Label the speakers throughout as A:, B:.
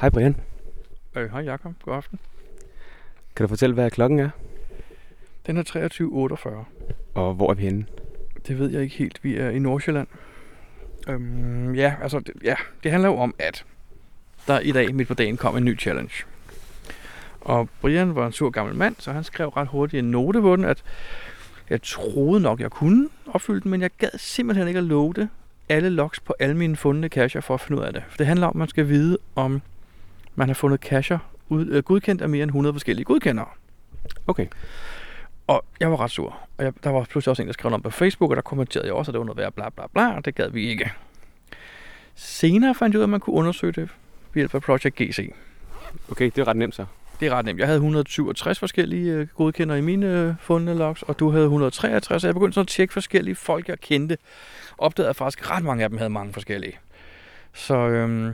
A: Hej Brian.
B: Øh, hej Jakob, god aften.
A: Kan du fortælle, hvad klokken er?
B: Den er
A: Og hvor er vi henne?
B: 23.48. Det ved jeg ikke helt. Vi er i Nordsjælland. Øhm, ja, altså, det, ja, det handler jo om, at der i dag midt på dagen kom en ny challenge. Og Brian var en sur gammel mand, så han skrev ret hurtigt en note på den, at jeg troede nok, jeg kunne opfylde den, men jeg gad simpelthen ikke at love det. Alle logs på alle mine fundne cacher for at finde ud af det. For det handler om, at man skal vide, om man har fundet cacher ud, øh, godkendt af mere end 100 forskellige godkendere.
A: Okay.
B: Og jeg var ret sur. Og jeg, der var pludselig også en, der skrev om på Facebook, og der kommenterede jeg også, at det var noget værd, bla bla bla, og det gad vi ikke. Senere fandt jeg ud af, at man kunne undersøge det ved hjælp af Project GC.
A: Okay, det er ret nemt så.
B: Det er ret nemt. Jeg havde 167 forskellige øh, godkender i mine øh, fundne logs, og du havde 163, og jeg begyndte så at tjekke forskellige folk, jeg kendte. Opdagede jeg faktisk, at ret mange af dem havde mange forskellige. Så, øhm,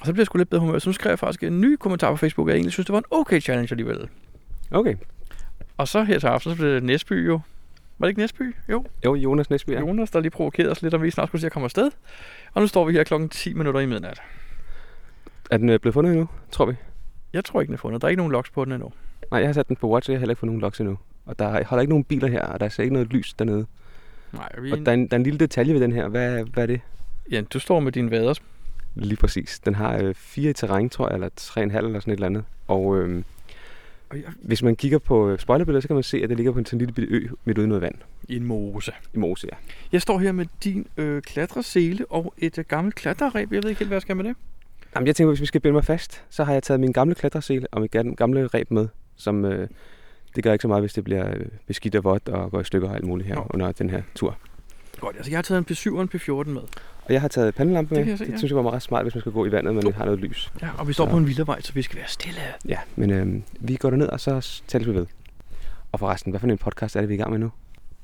B: og så blev jeg sgu lidt bedre humør, så nu skrev jeg faktisk en ny kommentar på Facebook, og jeg egentlig synes, det var en okay challenge alligevel.
A: Okay.
B: Og så her til aften, så blev det Næsby jo. Var det ikke Næsby? Jo.
A: Jo, Jonas Nesby.
B: Ja.
A: Ja.
B: Jonas, der lige provokerede os lidt, om vi snart skulle se at komme afsted. Og nu står vi her klokken 10 minutter i midnat.
A: Er den øh, blevet fundet endnu, tror vi?
B: Jeg tror ikke, den er fundet. Der er ikke nogen logs på den endnu.
A: Nej, jeg har sat den på watch, og jeg har heller ikke fået nogen logs endnu. Og der holder ikke nogen biler her, og der er slet ikke noget lys dernede.
B: Nej, vi...
A: Og der er, en, der er en lille detalje ved den her. Hvad, hvad er det?
B: Ja, du står med dine vader.
A: Lige præcis. Den har øh, fire i terræn, tror jeg, eller tre og en halv, eller sådan et eller andet. Og øh,
B: Og jeg-
A: hvis man kigger på øh, spoilerbilledet, så kan man se, at det ligger på en sådan lille bitte ø midt ude i noget vand.
B: I en mose.
A: I Mose, ja.
B: Jeg står her med din øh, klatresele og et øh, gammelt klatreræb. Jeg ved ikke helt, hvad jeg skal med det.
A: Jamen, jeg tænker, hvis vi skal binde mig fast, så har jeg taget min gamle klatresel og mit gam- gamle reb med, som øh, det gør ikke så meget, hvis det bliver øh, beskidt og vådt og går i stykker og alt muligt her
B: Nå.
A: Nå. under den her tur.
B: Godt, altså jeg har taget en P7 og en P14 med.
A: Og jeg har taget pandelampe
B: Det
A: med.
B: kan jeg se,
A: det
B: ja.
A: synes jeg var meget smart, hvis man skal gå i vandet, men har noget lys.
B: Ja, og vi står
A: Så.
B: så. på en vildervej, så vi skal være stille.
A: Ja, men øh, vi går derned, og så s- tales vi ved. Og forresten, hvad for en podcast er det, vi er i gang med nu?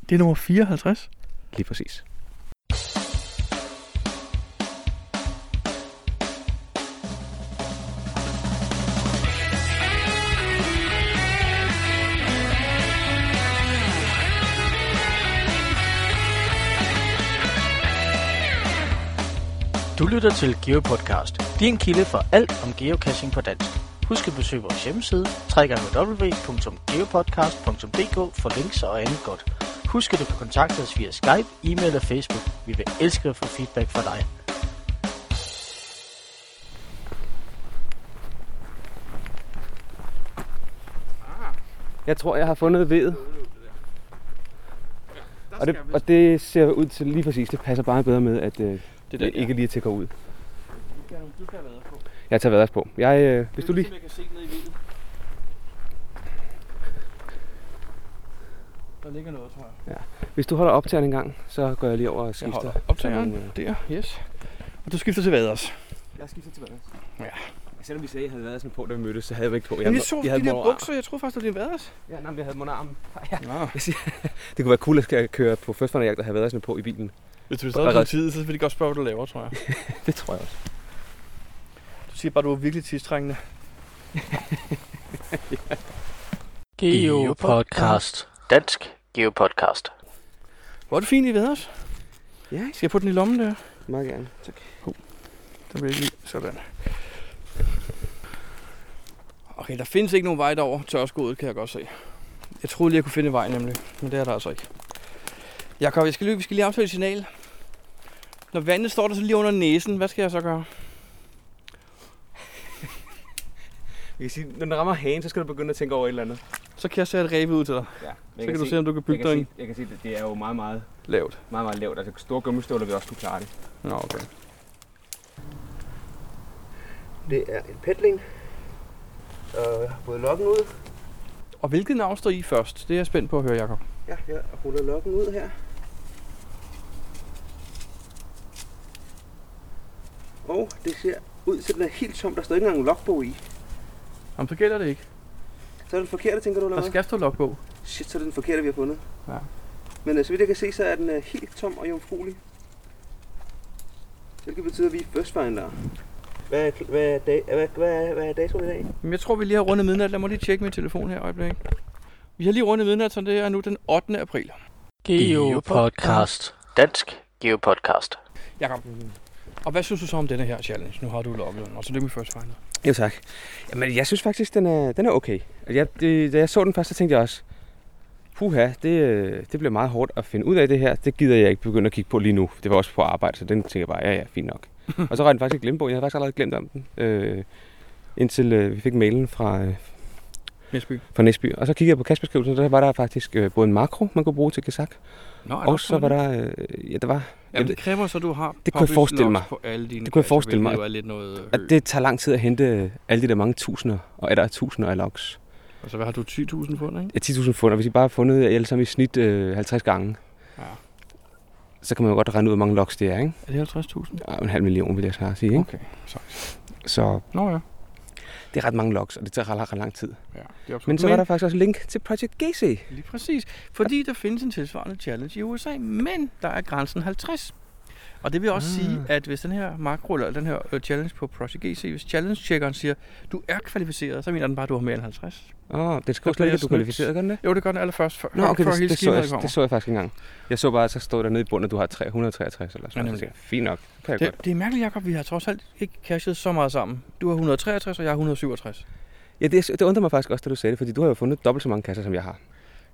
B: Det er nummer 54.
A: Lige præcis.
C: Du lytter til GeoPodcast, din kilde for alt om geocaching på dansk. Husk at besøge vores hjemmeside, www.geopodcast.dk for links og andet godt. Husk at du kan kontakte os via Skype, e-mail og Facebook. Vi vil elske at få feedback fra dig.
A: Jeg tror, jeg har fundet vedet. Og det, og det ser ud til lige præcis, det passer bare bedre med, at øh, det
B: der, ja.
A: ikke lige tækker ud.
B: Du skal have været på.
A: Jeg tager vaders på. Jeg, øh, hvis du lige...
B: Jeg kan se ned i vinduet. Der ligger noget, tror jeg.
A: Hvis du holder optageren en gang, så går jeg lige over og
B: Jeg
A: skifter.
B: holder optageren
A: Sådan, øh,
B: der, yes. Og du skifter til vaders.
A: Jeg skifter tilbage.
B: Ja.
A: Selvom vi sagde, at jeg havde været sådan på, da vi mødtes, så havde jeg ikke på.
B: Men jeg så de der
A: monarm.
B: bukser, jeg troede faktisk, det var din vaders.
A: Ja, nej, men jeg havde monarm. Ja.
B: Nå.
A: Det kunne være cool at skal køre på første jagt og have været sådan på i bilen.
B: Hvis du
A: stadig har
B: tid, så vil de godt spørge, hvad du laver, tror jeg.
A: Det tror jeg også.
B: Du siger bare, du er virkelig tidstrængende.
C: GeoPodcast. Dansk GeoPodcast.
B: Hvor er det fint i vaders?
A: Ja,
B: Skal jeg putte den i lommen der?
A: meget gerne. Tak.
B: Der vil jeg lige. Sådan. Okay, der findes ikke nogen vej derover. Tørskodet kan jeg godt se. Jeg troede lige, jeg kunne finde vej nemlig, men det er der altså ikke. Jakob, jeg skal lige, vi skal lige aftale et signal. Når vandet står der så lige under næsen, hvad skal jeg så gøre?
A: Jeg kan sige, når den rammer hagen, så skal du begynde at tænke over et eller andet.
B: Så kan jeg sætte et ræbe ud til dig.
A: Ja.
B: Så kan du se, om du kan bygge dig en
A: jeg kan sige, at det er jo meget, meget,
B: lavt.
A: meget, meget lavt. Altså store gummistøvler vil også kunne klare det.
B: Nå, okay.
D: Det er en petling. Og jeg har fået lokken ud.
B: Og hvilket navn står I først? Det er jeg spændt på at høre, Jakob.
D: Ja, jeg ruller lokken ud her. Og det ser ud til, at den er helt tom. Der står ikke engang en logbog i.
B: Om så gælder det ikke.
D: Så er den forkerte, tænker du, eller
B: Der
D: hvad?
B: skal stå logbog.
D: Shit, så er det den forkerte, vi har fundet.
B: Ja.
D: Men øh, så vidt jeg kan se, så er den øh, helt tom og jomfruelig. Hvilket betyder, at vi er first finder. Hvad er, kl- hvad er, dag, hvad, hvad, er- hvad er datoen i dag?
B: Men jeg tror, vi lige har rundet midnat. Lad mig lige tjekke min telefon her et øjeblik. Vi har lige rundet midnat, så det er nu den 8. april.
C: GeoPodcast. Dansk GeoPodcast.
B: Jakob, Og hvad synes du så om denne her challenge? Nu har du lukket den, og så det med first finder.
A: Jo tak. Jamen, jeg synes faktisk, den er, den er okay. Og Jeg, det, da jeg så den først, så tænkte jeg også, puha, det, øh, det bliver meget hårdt at finde ud af det her. Det gider jeg ikke begynde at kigge på lige nu. Det var også på arbejde, så den tænkte jeg bare, ja ja, fint nok. og så røg den faktisk i glemmebogen. Jeg havde faktisk allerede glemt om den, øh, indtil øh, vi fik mailen fra, øh,
B: Næsby.
A: fra Næsby. Og så kiggede jeg på kastbeskrivelsen, og der var der faktisk øh, både en makro, man kunne bruge til Gazak,
B: Nå,
A: og så var der, øh, ja, der var
B: Jamen, det kræver så, at du har
A: Det kunne jeg
B: published
A: forestille
B: logs
A: mig.
B: På alle dine
A: Det kunne jeg
B: kasser,
A: forestille
B: hvilket
A: mig.
B: jo er lidt noget
A: At
B: højt.
A: det tager lang tid at hente øh, alle de der mange tusinder, og er der tusinder af logs.
B: Altså, hvad har du? 10.000 pund, ikke?
A: Ja, 10.000 fund, og hvis I bare har fundet alle sammen i snit øh, 50 gange,
B: Ja.
A: så kan man jo godt regne ud, hvor mange logs det er, ikke?
B: Er det 50.000?
A: Ej, en halv million, vil jeg snart sige, ikke?
B: Okay, så.
A: Så
B: Nå ja.
A: det er ret mange logs, og det tager ret, ret lang tid.
B: ja det er
A: Men så var der faktisk også link til Project GC.
B: Lige præcis. Fordi der findes en tilsvarende challenge i USA, men der er grænsen 50. Og det vil også
A: Ah.
B: ah. sige, at hvis den her makro, eller den her øh, challenge på Project GC, hvis challenge-checkeren siger, du er kvalificeret, så mener den bare, at du har mere end 50.
A: Åh, oh, det
B: bliver
A: skriver slet ikke,
B: jeg
A: at du er
B: snydt.
A: kvalificeret, gør den det?
B: Jo, det gør den allerførst, for,
A: Nå, okay,
B: for
A: det,
B: hele
A: det, så
B: skemaet
A: jeg,
B: kommer.
A: det så jeg faktisk ikke engang. Jeg så bare, at så stod der nede i bunden, at du har 363 eller
B: Ja,
A: sådan noget. Så
B: nemlig.
A: tænkte jeg, Fint nok, det kan jeg godt.
B: det, det er mærkeligt, Jacob, vi har trods alt ikke cashet så meget sammen. Du har 163, og jeg har 167.
A: Ja, det, det undrer mig faktisk også, da du sagde det, fordi du har jo fundet dobbelt så mange kasser, som jeg har.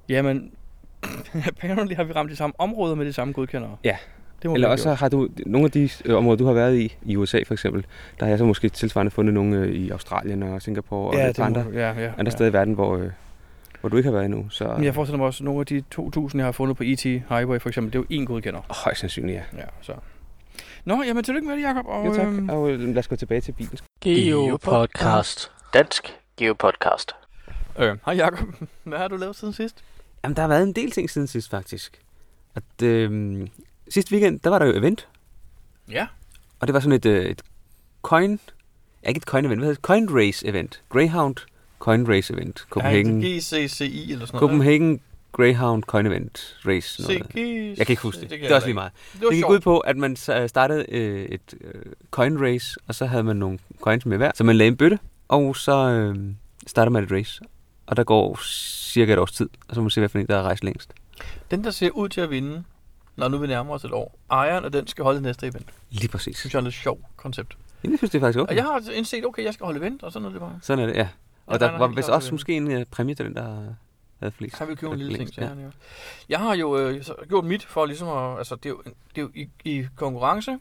B: Jamen, apparently har vi ramt de samme områder med de samme godkendere.
A: Ja.
B: Det må
A: Eller
B: vi
A: også
B: have
A: så har du nogle af de øh, områder, du har været i, i USA for eksempel, der har jeg så måske tilsvarende fundet nogle øh, i Australien og Singapore og
B: gjort. ja,
A: ja,
B: det
A: et par andre,
B: må, ja, ja,
A: andre
B: ja.
A: steder i verden, hvor, øh, hvor du ikke har været endnu. Så
B: Men jeg forestiller mig også, at nogle af de 2.000, jeg har fundet på ET Highway for eksempel, det er jo én godkender.
A: højst sandsynligt, ja.
B: Ja, så. Nå, jamen tillykke med det, Jacob. Og,
A: Jo tak,
B: øhm,
A: og øh, lad os gå tilbage til bilen.
C: Geopodcast. Dansk Geopodcast.
B: øh, hej Jacob. Hvad har du lavet siden sidst?
A: Jamen, der har været en del ting siden sidst, faktisk. At, øh, sidste weekend, der var der jo event,
B: Ja.
A: og det var sådan et, øh, et coin... Ja, ikke et coin-event, hvad hedder det? Coin race-event. Greyhound coin race-event. Copenhagen,
B: GCCI eller sådan noget.
A: Copenhagen Greyhound coin event race. Noget. Jeg kan ikke huske det. Det er også lige meget. Det gik ud på, at man s- øh, startede øh, et øh, coin race, og så havde man nogle coins med hver. Så man lagde en bøtte, og så øh, startede man et race. Og der går cirka et års tid, og så må man se, hvad for en, der har rejst længst.
B: Den, der ser ud til at vinde, når nu vi nærmer os et år, ejeren og den skal holde næste event.
A: Lige præcis.
B: Synes jeg er lidt sjovt koncept.
A: Jamen, jeg synes, det er faktisk
B: Og
A: okay.
B: jeg har indset, okay, jeg skal holde event, og sådan noget det bare.
A: Sådan er det, ja. Og
B: Jeg
A: der
B: regner
A: var
B: helt
A: vist
B: klart
A: også
B: med.
A: måske en øh, præmie til den, der havde flest.
B: Kan vi købe en
A: der
B: lille ting
A: længst,
B: til ja. Jeg har jo øh, så gjort mit for ligesom at, altså det er jo, det er jo i, i konkurrence,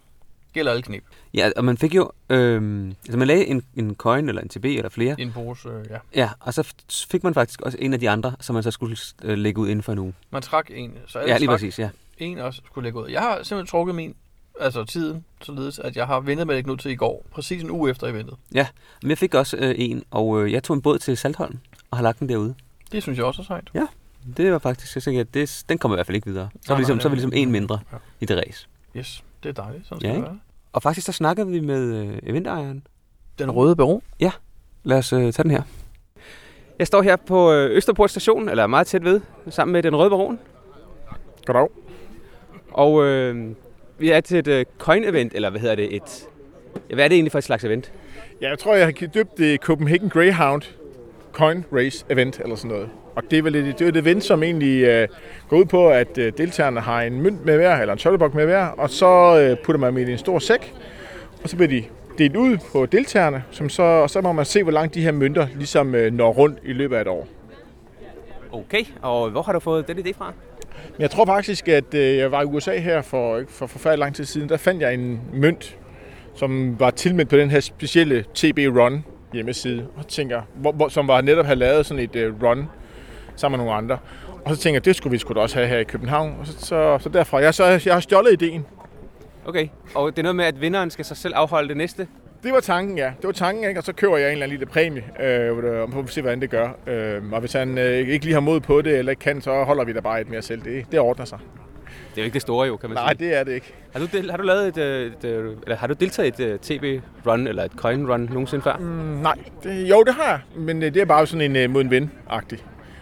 B: gælder alle knep.
A: Ja, og man fik jo, øh, altså man lagde en, en coin eller en TB eller flere,
B: I en pose, øh, ja.
A: Ja, og så f- fik man faktisk også en af de andre, som man så skulle øh, lægge ud inden for en uge.
B: Man trak en, så alle
A: Ja, lige
B: trak
A: præcis, ja.
B: en også skulle lægge ud. Jeg har simpelthen trukket min, altså tiden, således at jeg har ventet med at lægge ud til i går, præcis en uge efter eventet.
A: Men jeg fik også øh, en, og øh, jeg tog en båd til Saltholm og har lagt den derude.
B: Det synes jeg også er sejt.
A: Det var faktisk, jeg tænkte, at det, den kommer i hvert fald ikke videre. Så er
B: Nej,
A: vi ligesom,
B: nej,
A: så er vi ligesom
B: nej.
A: en mindre
B: Ja.
A: i det race.
B: Yes, det er dejligt, sådan
A: Ja,
B: skal det
A: ikke?
B: være.
A: Og faktisk så snakkede vi med øh, eventejeren.
B: Den røde baron.
A: Lad os øh, tage den her. Jeg står her på øh, Østerport station, eller meget tæt ved, sammen med den røde baron.
E: Goddag.
A: Og øh, vi er til et øh, coin-event, eller hvad hedder det? Et, ja, hvad er det egentlig for et slags event?
E: Ja, jeg tror, jeg har døbt det Copenhagen Greyhound Coin Race Event eller sådan noget. Og det er vel et, det er et event, som egentlig øh, går ud på, at øh, deltagerne har en mønt med hver, eller en tolvebok med hver, og så øh, putter man dem i en stor sæk, og så bliver de delt ud på deltagerne, som så, og så må man se, hvor langt de her mønter ligesom øh, når rundt i løbet af et år.
A: Okay, og hvor har du fået den idé fra?
E: Men Jeg tror faktisk, at øh, jeg var i USA her for, ikke for forfærdelig lang tid siden. Der fandt jeg en mønt, som var tilmeldt på den her specielle TB Run hjemmeside. Og tænker, hvor, hvor, som var netop havde lavet sådan et øh, run sammen med nogle andre. Og så tænker jeg, det skulle vi sgu da også have her i København. Og så, så, så derfra, jeg, så, jeg har stjålet ideen.
A: Okay, og det er noget med, at vinderen skal sig selv afholde det næste.
E: Det var tanken, ja. Det var tanken, ikke? Og så køber jeg en eller anden lille præmie, øh, hvor det- og så får vi se, hvordan det gør. Øh, og hvis han øh, ikke lige har mod på det, eller ikke kan, så holder vi da bare et mere selv. Det, det ordner sig.
A: Det er jo ikke det store jo, kan man
E: Nej,
A: sige.
E: det er det ikke.
A: Har du, del, har du lavet et, øh, et, øh, eller har du deltaget i et TB-run eller et coin-run nogensinde før? Mm.
E: Mm, nej. Det, jo, det har jeg, men øh, det er bare sådan en øh, mod en ven-agtig.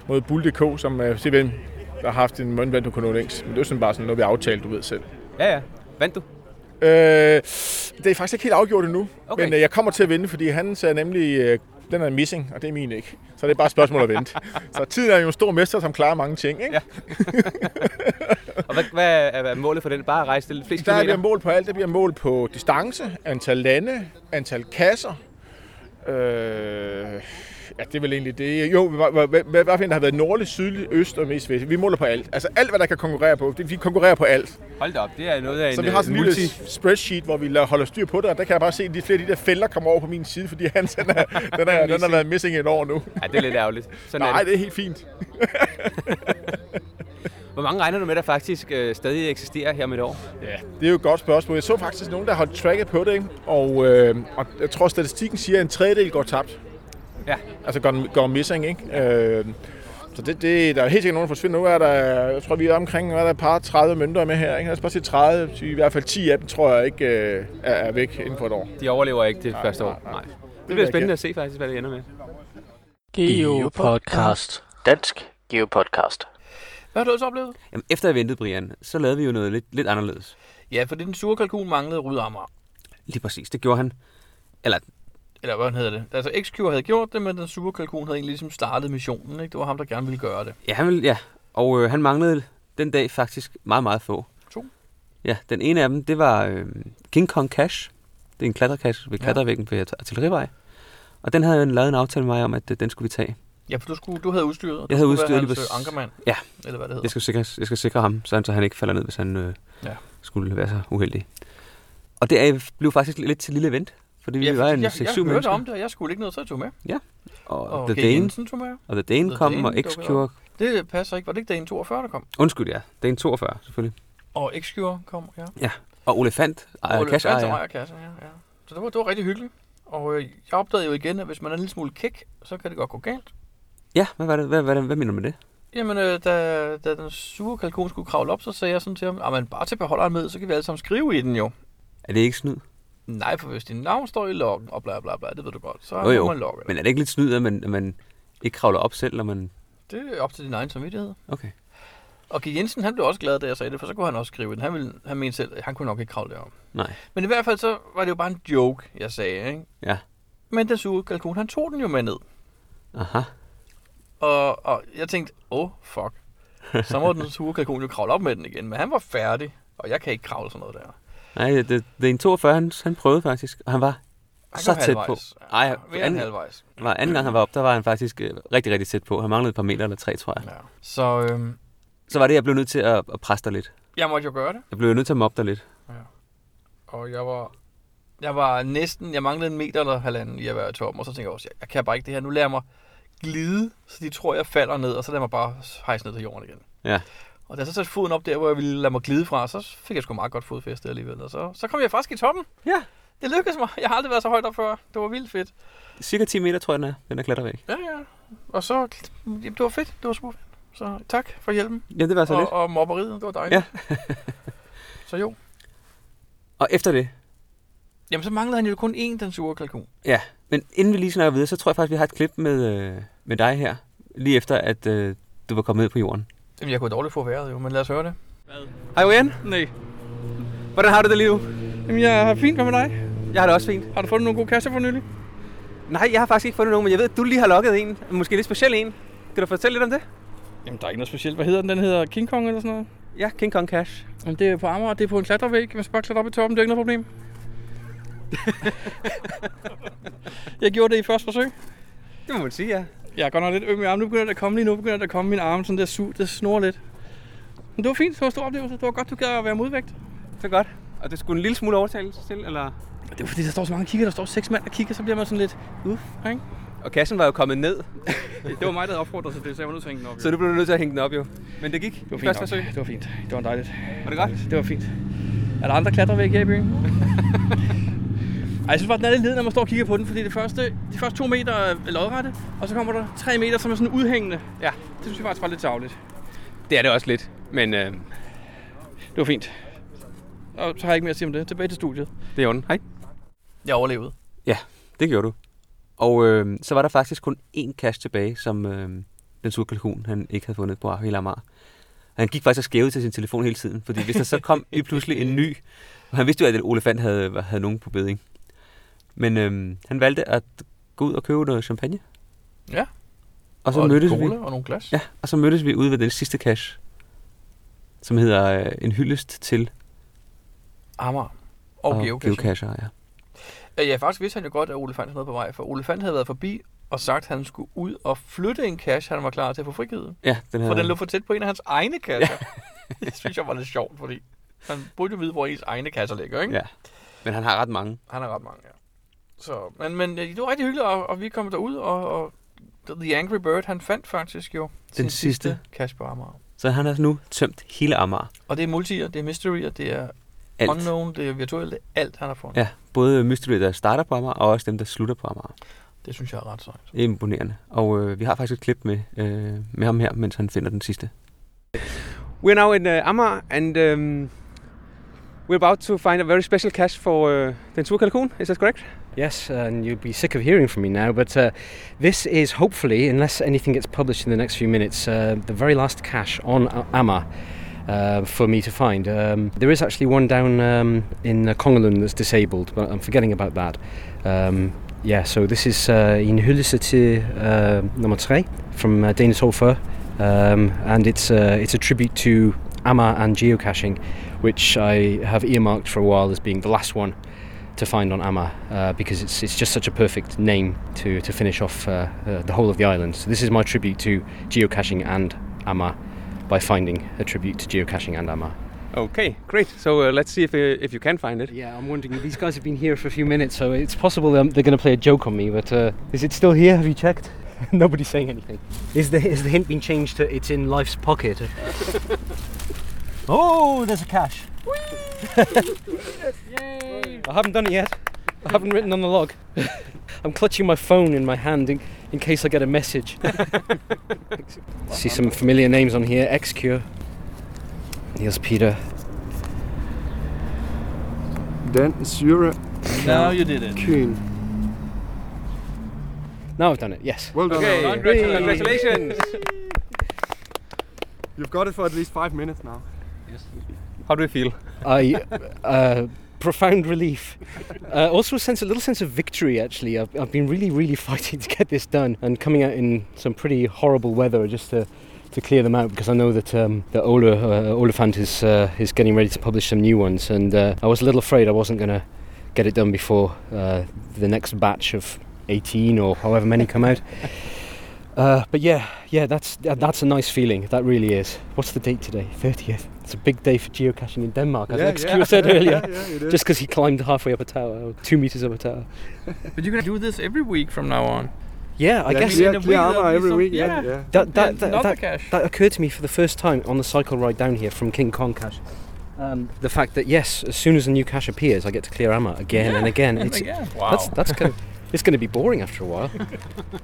E: Mod Bull.dk, som øh, se hvem der har haft en mundvand, du kunne nå længst. Men det er jo sådan bare sådan noget, vi har aftalt, du ved selv.
A: Ja, ja. Vandt du?
E: Øh, det er faktisk ikke helt afgjort endnu,
A: Okay.
E: okay. men øh, jeg kommer til at vinde, fordi han sagde nemlig øh, den er missing, og det er min ikke. Så det er bare et spørgsmål at vente. Så tiden er jo en stor mester, som klarer mange ting. Ikke? Ja,
A: Og hvad, hvad er, er målet for den? Bare at rejse til flest
E: der bliver
A: kilometer?
E: mål på alt. Der bliver mål på distance, antal lande, antal kasser. Øh, ja, det er vel egentlig det. Jo, hvad- hvad hvad- hvad- hvad for en, der har været nordlig, sydlig, øst og mest vest. Vi måler på alt. Altså alt, hvad der kan konkurrere på. Det- Vi konkurrerer på alt.
A: Hold da op, det er noget af en
E: Så vi har sådan en
A: øh,
E: lille spreadsheet, hvor vi lader- holder styr på det, og der kan jeg bare se, at de flere af de der fælder kommer over på min side, fordi han, den, er, den, er, den har været missing et år nu.
A: Ja, det er lidt ærgerligt. Sådan
E: Nej,
A: er det.
E: det er helt fint.
A: Hvor mange regner du med, der faktisk øh, stadig eksisterer her om et år?
E: Ja, det er jo et godt spørgsmål. Jeg så faktisk nogen, der har tracket på det, ikke? Og, øh, og jeg tror, statistikken siger, at en tredjedel går tabt.
A: Ja.
E: Altså går, går missing, ikke? Øh, så det, det, der er helt sikkert nogen, der forsvinder. Nu er der, jeg tror, vi er omkring hvad er der et par 30 mønter med her. Ikke? Lad os bare sige 30. I hvert fald 10 af dem, tror jeg, ikke øh, er, er væk inden for et år.
A: De overlever ikke det første år.
E: nej.
A: Nej. Det
E: ved jeg
A: bliver
E: ikke.
A: spændende at se faktisk, hvad det ender med.
C: Geo Podcast. Dansk Geo Podcast.
B: Hvad har du så oplevet?
A: Jamen, efter jeg ventede, Brian, så lavede vi jo noget lidt, lidt anderledes.
B: Ja, for den sure kalkun manglede Rydamager.
A: Lige præcis, det gjorde han. Eller,
B: Eller hvad hedder det? Altså, XQ havde gjort det, men den sure kalkun havde egentlig ligesom startet missionen, ikke? Det var ham, der gerne ville gøre det.
A: ja, han ville, ja. Og øh, han manglede den dag faktisk meget, meget få.
B: To.
A: Ja, den ene af dem, det var øh, King Kong Cash. Det er en klatrekasse ved
B: Ja.
A: klatrevæggen ved Artillerivej. Og den havde han lavet en aftale med mig om, at øh, den skulle vi tage.
B: Ja, for du, skulle, du havde udstyret. og
A: Jeg
B: du
A: havde
B: skulle være
A: udstyret lige
B: Hans, øh,
A: præcis.
B: ankermand.
A: Ja.
B: Eller hvad det hedder.
A: Jeg skal, sikre, jeg skal sikre ham, sådan så han ikke falder ned, hvis han øh,
B: Ja.
A: ja. skulle være så uheldig. Og det er- blev faktisk lidt til et lille event, fordi vi
B: Ja,
A: var
B: fordi
A: en 6-7
B: jeg, jeg
A: mennesker.
B: hørte om det, og jeg skulle ikke noget, så jeg tog med.
A: Og,
B: Og
A: The
B: G.
A: Dane,
B: Jensen tog med.
A: og The Dane
B: The
A: kom,
B: Dane
A: og
B: dukkede
A: X-Cure...
B: Det passer ikke. Var det ikke Dane 42, der kom?
A: Undskyld, ja. Dane 42, selvfølgelig.
B: Og Excure kom, ja.
A: Og Olefant, ejer
B: Og
A: Cash
B: Fandt
A: ejer.
B: ejer kasser, ja, ja. Så det var, det var rigtig hyggeligt. Og øh, jeg opdagede jo igen, at hvis man er en lille smule kæk, så kan det godt gå galt.
A: Ja, hvad, var det, hvad, hvad, hvad mener du med det?
B: Jamen, øh, da, da den sure kalkun skulle kravle op, så sagde jeg sådan til ham, at man bare til beholderen med, så kan vi alle sammen skrive i den jo.
A: Er det ikke snyd?
B: Nej, for hvis din navn står i loggen, og bla bla bla, det ved du godt, så
A: Jo,
B: må
A: jo,
B: man logge
A: Men er det ikke lidt snyd, at man, at man ikke kravler op selv, når man...
B: Det er op til din egen samvittighed.
A: Okay.
B: Og G. Jensen, han blev også glad, da jeg sagde det, for så kunne han også skrive den. Han, ville, han mente selv, at han kunne nok ikke kravle derom.
A: Nej.
B: Men i hvert fald så var det jo bare en joke, jeg sagde, ikke?
A: Ja.
B: Men den sure kalkun, han tog den jo med ned.
A: Aha.
B: Og, og jeg tænkte, oh fuck. Så må den sure kalkun jo kravle op med den igen. Men han var færdig, og jeg kan ikke kravle sådan noget der.
A: Nej, det, Dane 42, han, han prøvede faktisk, og han var
B: Han
A: Så
B: kom
A: tæt
B: halvvejs.
A: på. Ej,
B: Ja, mere end
A: anden-
B: halvvejs.
A: var anden gang, han var op, der var han faktisk øh, rigtig, rigtig tæt på. Han manglede et par meter eller tre, tror jeg.
B: Ja. Så øhm,
A: Så var det, jeg blev nødt til at, at presse dig lidt.
B: jeg måtte jo gøre det,
A: Jeg blev nødt til at mobbe dig lidt.
B: og jeg var... Jeg var næsten, jeg manglede en meter eller halvanden i at være i toppen, og så tænkte jeg også, jeg, jeg kan bare ikke det her, nu lader jeg mig glide, så de tror, jeg falder ned, og så lader jeg mig bare hejse ned til jorden igen.
A: Ja.
B: Og da jeg så satte foden op der, hvor jeg ville lade mig glide fra, så fik jeg sgu meget godt fodfæste alligevel, og så, så kom jeg faktisk i toppen.
A: Ja.
B: Det lykkedes mig, jeg har aldrig været så højt op før, det var vildt fedt.
A: Cirka 10 meter, tror jeg, den er, den er klatrevæg.
B: Ja, ja. Og så, jamen, det var fedt. Det var super fedt. Så tak for hjælpen.
A: Ja, det var så
B: og,
A: lidt.
B: og mobberiet, det var dejligt. Ja. så jo.
A: Og efter det,
B: Jamen, så manglede han jo kun én, den sure kalkun.
A: Men inden vi lige snakker videre, så tror jeg faktisk, vi har et klip med, øh, med dig her, lige efter at øh, du var kommet ned på jorden.
B: Jamen, jeg kunne dårligt få vejret jo, men lad os høre det.
A: Hej Brian,
B: Nej.
A: hvordan har du det lige nu?
B: Jamen, jeg har fint. Hvad med dig?
A: Jeg har det også fint.
B: Har du fundet nogle gode kasser for nylig?
A: Nej, jeg har faktisk ikke fundet nogen, men jeg ved, at du lige har lukket en. Måske lidt speciel en. Kan du fortælle lidt om det?
B: Jamen, der er ikke noget specielt. Hvad hedder den? Den hedder King Kong eller sådan noget.
A: Ja, King Kong Cash.
B: Jamen, det er på Amager. Det er på en klatrevæg. Man skal bare klatre op i toppen. Det er ikke noget problem. jeg gjorde det i første forsøg.
A: Det må man sige, ja.
B: Jeg er godt nok lidt øm i armen. Nu begynder det at komme lige nu. Begynder det at komme min arme sådan der su. Det snor lidt. Men det var fint. Det var en stor oplevelse. Det var godt, du gad at være modvægt.
A: Så godt. Og det skulle en lille smule overtagelse til, eller?
B: Det var fordi, der står så mange kigger. Der står seks mand og kigger, så bliver man sådan lidt... Uff, ikke?
A: Og kassen var jo kommet ned,
B: Det var mig, der havde opfordret til det, så jeg var nødt til at hænge den op.
A: så du blev nødt til at hænge den op jo. Men det gik. Det
B: det var fint
A: Første
B: nok.
A: forsøg.
B: Det var fint. Det var dejligt.
A: Var det godt?
B: Det var fint. Er der andre klatrevæg her i byen? Ej, jeg synes bare, den er lidt led, når man står og kigger på den, fordi det første, de første to meter er lodrette, og så kommer der tre meter, som er sådan udhængende.
A: Ja.
B: Det synes jeg faktisk var lidt tavligt.
A: Det er det også lidt, men øh,
B: Det var fint. Og så har jeg ikke mere at sige om det. Tilbage til studiet.
A: det er orden. Hej.
B: Jeg overlevede.
A: Det gjorde du. Og øh, så var der faktisk kun én cash tilbage, som øh, den sure kalkun, han ikke havde fundet på Ahil Amar. Han gik faktisk og skævede til sin telefon hele tiden, fordi hvis der så kom lige pludselig en ny, og han vidste jo, at Olefant havde, havde nogen på beding. Men øh, han valgte at gå ud og købe noget champagne.
B: Ja.
A: Og så
B: og en
A: mødtes vi.
B: cola og nogle glas.
A: Ja, og så mødtes vi ude ved den sidste cache, som hedder øh, en hyldest til
B: Amager. Og, og geocaching.
A: geocacher. Ja.
B: Øh, Ja, faktisk vidste han jo godt, at Ole Fandt havde noget på vej, for Ole Fandt havde været forbi og sagt, at han skulle ud og flytte en cash, han var klar til at få frigivet.
A: ja, den
B: For
A: her.
B: den lå for tæt på en af hans egne kasser. det synes jeg var lidt sjovt, fordi han burde jo vide, hvor ens egne kasser ligger, ikke?
A: Ja. Men han har ret mange.
B: Han har ret mange, ja. Så, men, men øh, det var rigtig hyggeligt, og, og vi kom derud, og, og The Angry Bird, han fandt faktisk jo den
A: sidste.
B: cash på Amager.
A: Så han har nu tømt hele Amager.
B: Og det er multier, det er mystery, og det er
A: Alt.
B: unknown, det er virtuelt, det er alt, han har fundet.
A: Ja, både mystery, der starter på Amager, og også dem, der slutter på Amager.
B: Det synes jeg er ret sejt.
A: Det er imponerende. Og øh, vi har faktisk et klip med, øh, med ham her, mens han finder den sidste. We're now in uh, Amager, and um, we're about to find a very special cache for uh, den sur kalkun. Is that correct?
F: Yes, and you'll be sick of hearing from me now, but uh, this is hopefully, unless anything gets published in the next few minutes, uh, the very last cache on A- Amma uh, for me to find. Um, there is actually one down um, in uh, Kongalun that's disabled, but I'm forgetting about that. Um, yeah, so this is uh, in Hulisati uh, number three from uh, Danisolfa, um, and it's, uh, it's a tribute to Amma and geocaching, which I have earmarked for a while as being the last one to find on Amma uh, because it's it's just such a perfect name to to finish off uh, uh, the whole of the island. So this is my tribute to geocaching and Amma by finding a tribute to geocaching and Amma.
A: Okay, great. So uh, let's see if, uh, if you can find it.
F: Yeah, I'm wondering. These guys have been here for a few minutes, so it's possible um, they're going to play a joke on me. But uh, is it still here? Have you checked? Nobody's saying anything. Is the is the hint been changed to it's in life's pocket? oh, there's a cache. I haven't done it yet. I haven't written on the log. I'm clutching my phone in my hand in, in case I get a message. See some familiar names on here. Excure. Niels Peter.
G: Dan Syre
B: Now you did it.
G: Kyn.
F: Now I've done it. Yes.
G: Well done.
A: Okay,
G: Alan.
A: congratulations.
G: You've got it for at least five minutes now.
A: How do you feel?
F: I uh, profound relief. Uh, also a sense, a little sense of victory. Actually, I've, I've been really, really fighting to get this done, and coming out in some pretty horrible weather just to to clear them out because I know that um, that Ola uh, Olafant is uh, is getting ready to publish some new ones, and uh, I was a little afraid I wasn't going to get it done before uh, the next batch of 18 or however many come out. Uh, but yeah, yeah, that's that- that's a nice feeling. That really is. What's the date today? 30th. It's a big day for geocaching in Denmark, as Lex Cure said earlier.
G: Yeah, yeah, it is.
F: Just because he climbed halfway up a tower, or two meters up a tower.
B: But you're gonna do this every week from now on.
F: Yeah, I
G: yeah,
F: guess
G: clear,
B: in a
G: clear
B: week,
G: armor
B: that'll be
G: every
B: some-
G: week. Yeah,
B: yeah.
G: yeah.
F: that that, that,
B: Not
F: that,
B: the cash.
F: that occurred to me for the first time on the cycle ride down here from King Kong Cache. Um, the fact that yes, as soon as a new cache appears, I get to clear Amma again and again. It's,
B: yeah. Wow.
F: That's that's gonna, it's going to be boring after a while.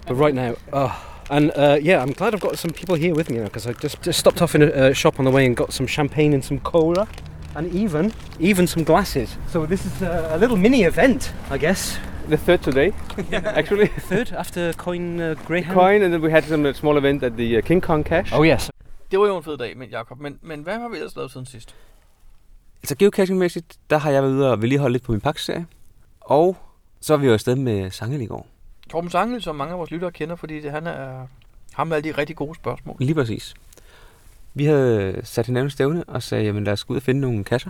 F: but right now, oh, and uh, yeah, I'm glad I've got some people here with me now because I just, just stopped off in a uh, shop on the way and got some champagne and some cola, and even even some glasses. So this is uh, a little mini event, I guess.
A: The third today, actually.
F: Third after Coin uh, Greyhound.
A: Coin, and then we had some uh, small event at the uh, King Kong cache.
F: Oh yes,
B: Det var jo en fed dag, men Jacob. Men, men hvad har vi ellers lavet siden sidst?
A: Altså geocaching-mæssigt, der har jeg været ude og vedligeholde lidt på min pakkeserie. Og så er vi jo afsted med Sangel i går.
B: Torben Sangel, som mange af vores lyttere kender, fordi det, han er ham med alle de rigtig gode spørgsmål.
A: Lige præcis. Vi havde sat hinanden stævne og sagde, jamen lad os gå ud og finde nogle kasser.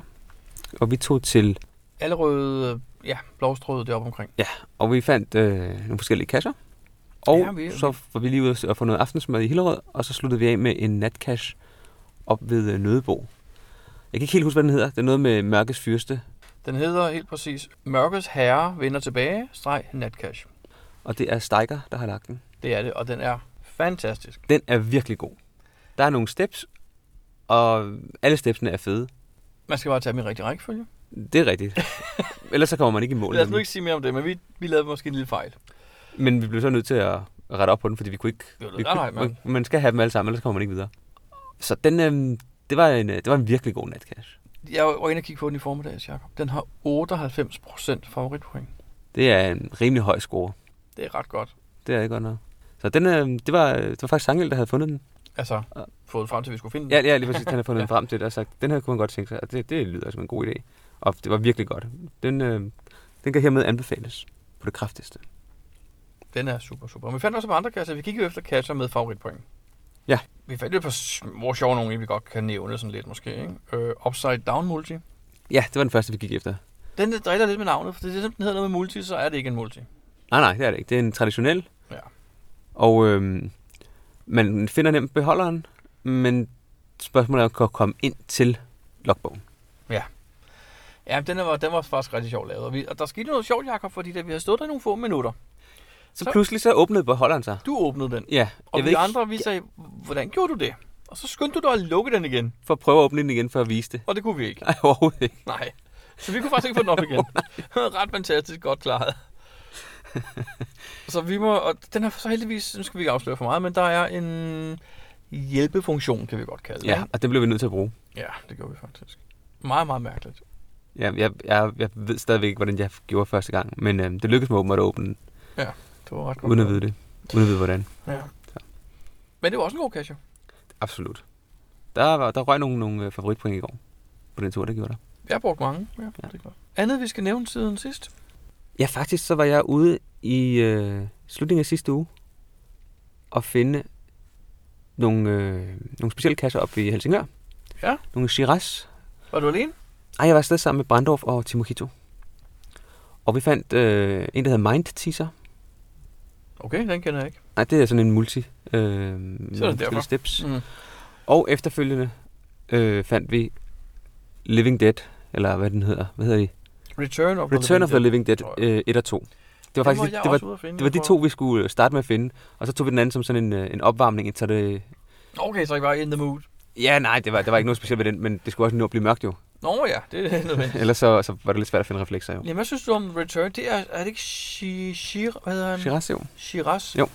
A: Og vi tog til,
B: Allerøde, øh, ja, blåstrøde deroppe omkring.
A: og vi fandt øh, nogle forskellige kasser. Og
B: Ja, vi-
A: ja, så var vi lige ude og få noget aftensmad i Hillerød, og så sluttede vi af med en natcash op ved øh, Nødebo. Jeg kan ikke helt huske, hvad den hedder. Det er noget med Mørkes Fyrste,
B: Den hedder helt præcis Mørkets Herre vender tilbage, streg Netcash.
A: og det er Steiger, der har lagt den.
B: Det er det, og den er fantastisk.
A: Den er virkelig god. Der er nogle steps, og alle stepsene er fede.
B: Man skal bare tage dem i rigtig rækkefølge.
A: Det er rigtigt. Ellers så kommer man ikke i mål.
B: Lad os nu
A: nemlig.
B: ikke sige mere om det, men vi, vi lavede måske en lille fejl.
A: Men vi blev så nødt til at rette op på den, fordi vi kunne ikke...
B: Jo, det
A: vi
B: er
A: kunne,
B: nej, mand.
A: man skal have dem alle sammen, ellers kommer man ikke videre. Så den, øh, det, var en, øh, det var en virkelig god natcash.
B: Jeg var inde og kigge på den i formiddags, Jacob. Den har 98% favoritpoint.
A: Det er en rimelig høj score.
B: Det er ret godt.
A: Det er det godt nok. Så den, øh, det, var, det var faktisk Sangel, der havde fundet den.
B: Altså, fået frem til, at vi skulle finde den.
A: Ja, ja lige præcis, han havde fundet den frem til det og sagt, den her kunne man godt tænke sig, og det, det lyder som en god idé. Og øhm, det var virkelig godt. Den, øh, den kan hermed anbefales på det kraftigste.
B: Den er super, super. Og vi fandt også på andre kasser. Vi kiggede jo efter kasser med favoritpoint.
A: Ja.
B: Vi fandt et par små sjove nogle, vi godt kan nævne sådan lidt måske. Ikke? Øh, upside Down Multi.
A: Ja, det var den første, vi gik efter.
B: Den driller lidt med navnet, for det er den hedder noget med multi, så er det ikke en multi.
A: Nej, nej, det er det ikke. Det er en traditionel.
B: Ja.
A: Og øhm, man finder nemt beholderen, men spørgsmålet er, om man kan komme ind til logbogen.
B: Ja, den var, den var faktisk rigtig sjov lavet. Og, vi, og der skete noget sjovt, Jacob, fordi da vi havde stået der i nogle få minutter,
A: Så,
B: Så-
A: så pludselig så åbnede beholderen sig.
B: du åbnede den.
A: Ja,
B: Og
A: jeg
B: vi
A: ved ikke,
B: andre, vi sagde, hvordan gjorde du det? Og så skyndte du dig at lukke den igen,
A: for at prøve at åbne den igen for at vise det.
B: og det kunne vi ikke.
A: Nej, overhovedet ikke.
B: Nej. Så vi kunne faktisk ikke få den op igen. Ret fantastisk godt klaret. så vi må, og den er så heldigvis, nu skal vi ikke afsløre for meget, men der er en hjælpefunktion, kan vi godt kalde det.
A: Ja, og det blev vi nødt til at bruge.
B: ikke? ja det gjorde vi faktisk. Meget, meget mærkeligt.
A: Ja, jeg, jeg, jeg ved stadigvæk ikke, hvordan jeg gjorde første gang, men øhm, det lykkedes mig åbenbart at åbne den,
B: Det var ret godt.
A: uden at vide det. Uden at vide, hvordan.
B: Ja. Men det var også en god cash, jo.
A: Absolut. Der, var, der røg nogle, nogle øh, favoritpoint i går på den tur, der gjorde der.
B: Jeg har brugt mange. Ja, ja. Det er godt. Andet, vi skal nævne siden sidst.
A: Ja, faktisk så var jeg ude i øh, slutningen af sidste uge og finde nogle, øh, nogle specielle kasser op i Helsingør.
B: Ja.
A: Nogle Shiraz.
B: Var du alene?
A: Ej, jeg var afsted sammen med Brandorf og Timo Hito. Og vi fandt øh, en, der hedder Mind Teaser.
B: Okay, den kender jeg ikke.
A: Nej, det er sådan en multi. Øh, med
B: derfor.
A: forskellige steps.
B: Mm.
A: Og efterfølgende øh, fandt vi Living Dead, eller hvad den hedder. Hvad hedder de?
B: Return of
A: Return of the Living Dead
B: tror jeg.
A: 1 og 2. Det var faktisk det, det, var, det var de to, vi skulle øh, starte med at finde, og så tog vi den anden som sådan en, øh, en opvarmning, indtil det...
B: Okay, så jeg var in the mood.
A: Ja, nej, det var, der var ikke noget specielt ved den, men det skulle også nå at blive mørkt jo.
B: Nå ja, det er nødvendigt.
A: Ellers så, så var det lidt svært at finde reflekser jo.
B: Jamen, hvad synes du om Return? Det er, er det ikke Shi- Shir, hvad hedder han?
A: Shiraz jo.
B: Shiraz?
A: Jo.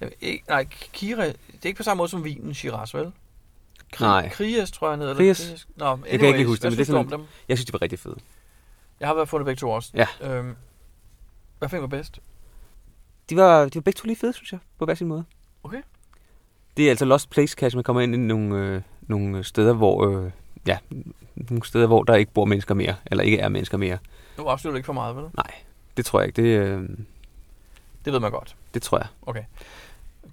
B: Jamen, ikke, nej, Kira, det er ikke på samme måde som vinen Shiraz, vel?
A: Nej.
B: Krias, tror jeg, han hedder.
A: Krias.
B: Eller Nå, anyways,
A: ikke lige huske
B: hvad
A: det, men det er
B: synes du om
A: sådan-
B: dem?
A: Jeg synes, de var rigtig fede.
B: Jeg har været fundet begge to også.
A: Ja.
B: Øhm, hvad fanden var bedst?
A: De var, de var begge to lige fede, synes jeg, på hver sin måde.
B: Okay.
A: Det er altså Lost Place Cash, man kommer ind i nogle, øh, nogle steder, hvor... Øh, ja, nogle steder, hvor der ikke bor mennesker mere, eller ikke er mennesker mere.
B: Nu afslører du ikke for meget, vel?
A: Det tror jeg ikke, det, øh,
B: Det ved man godt.
A: det tror jeg.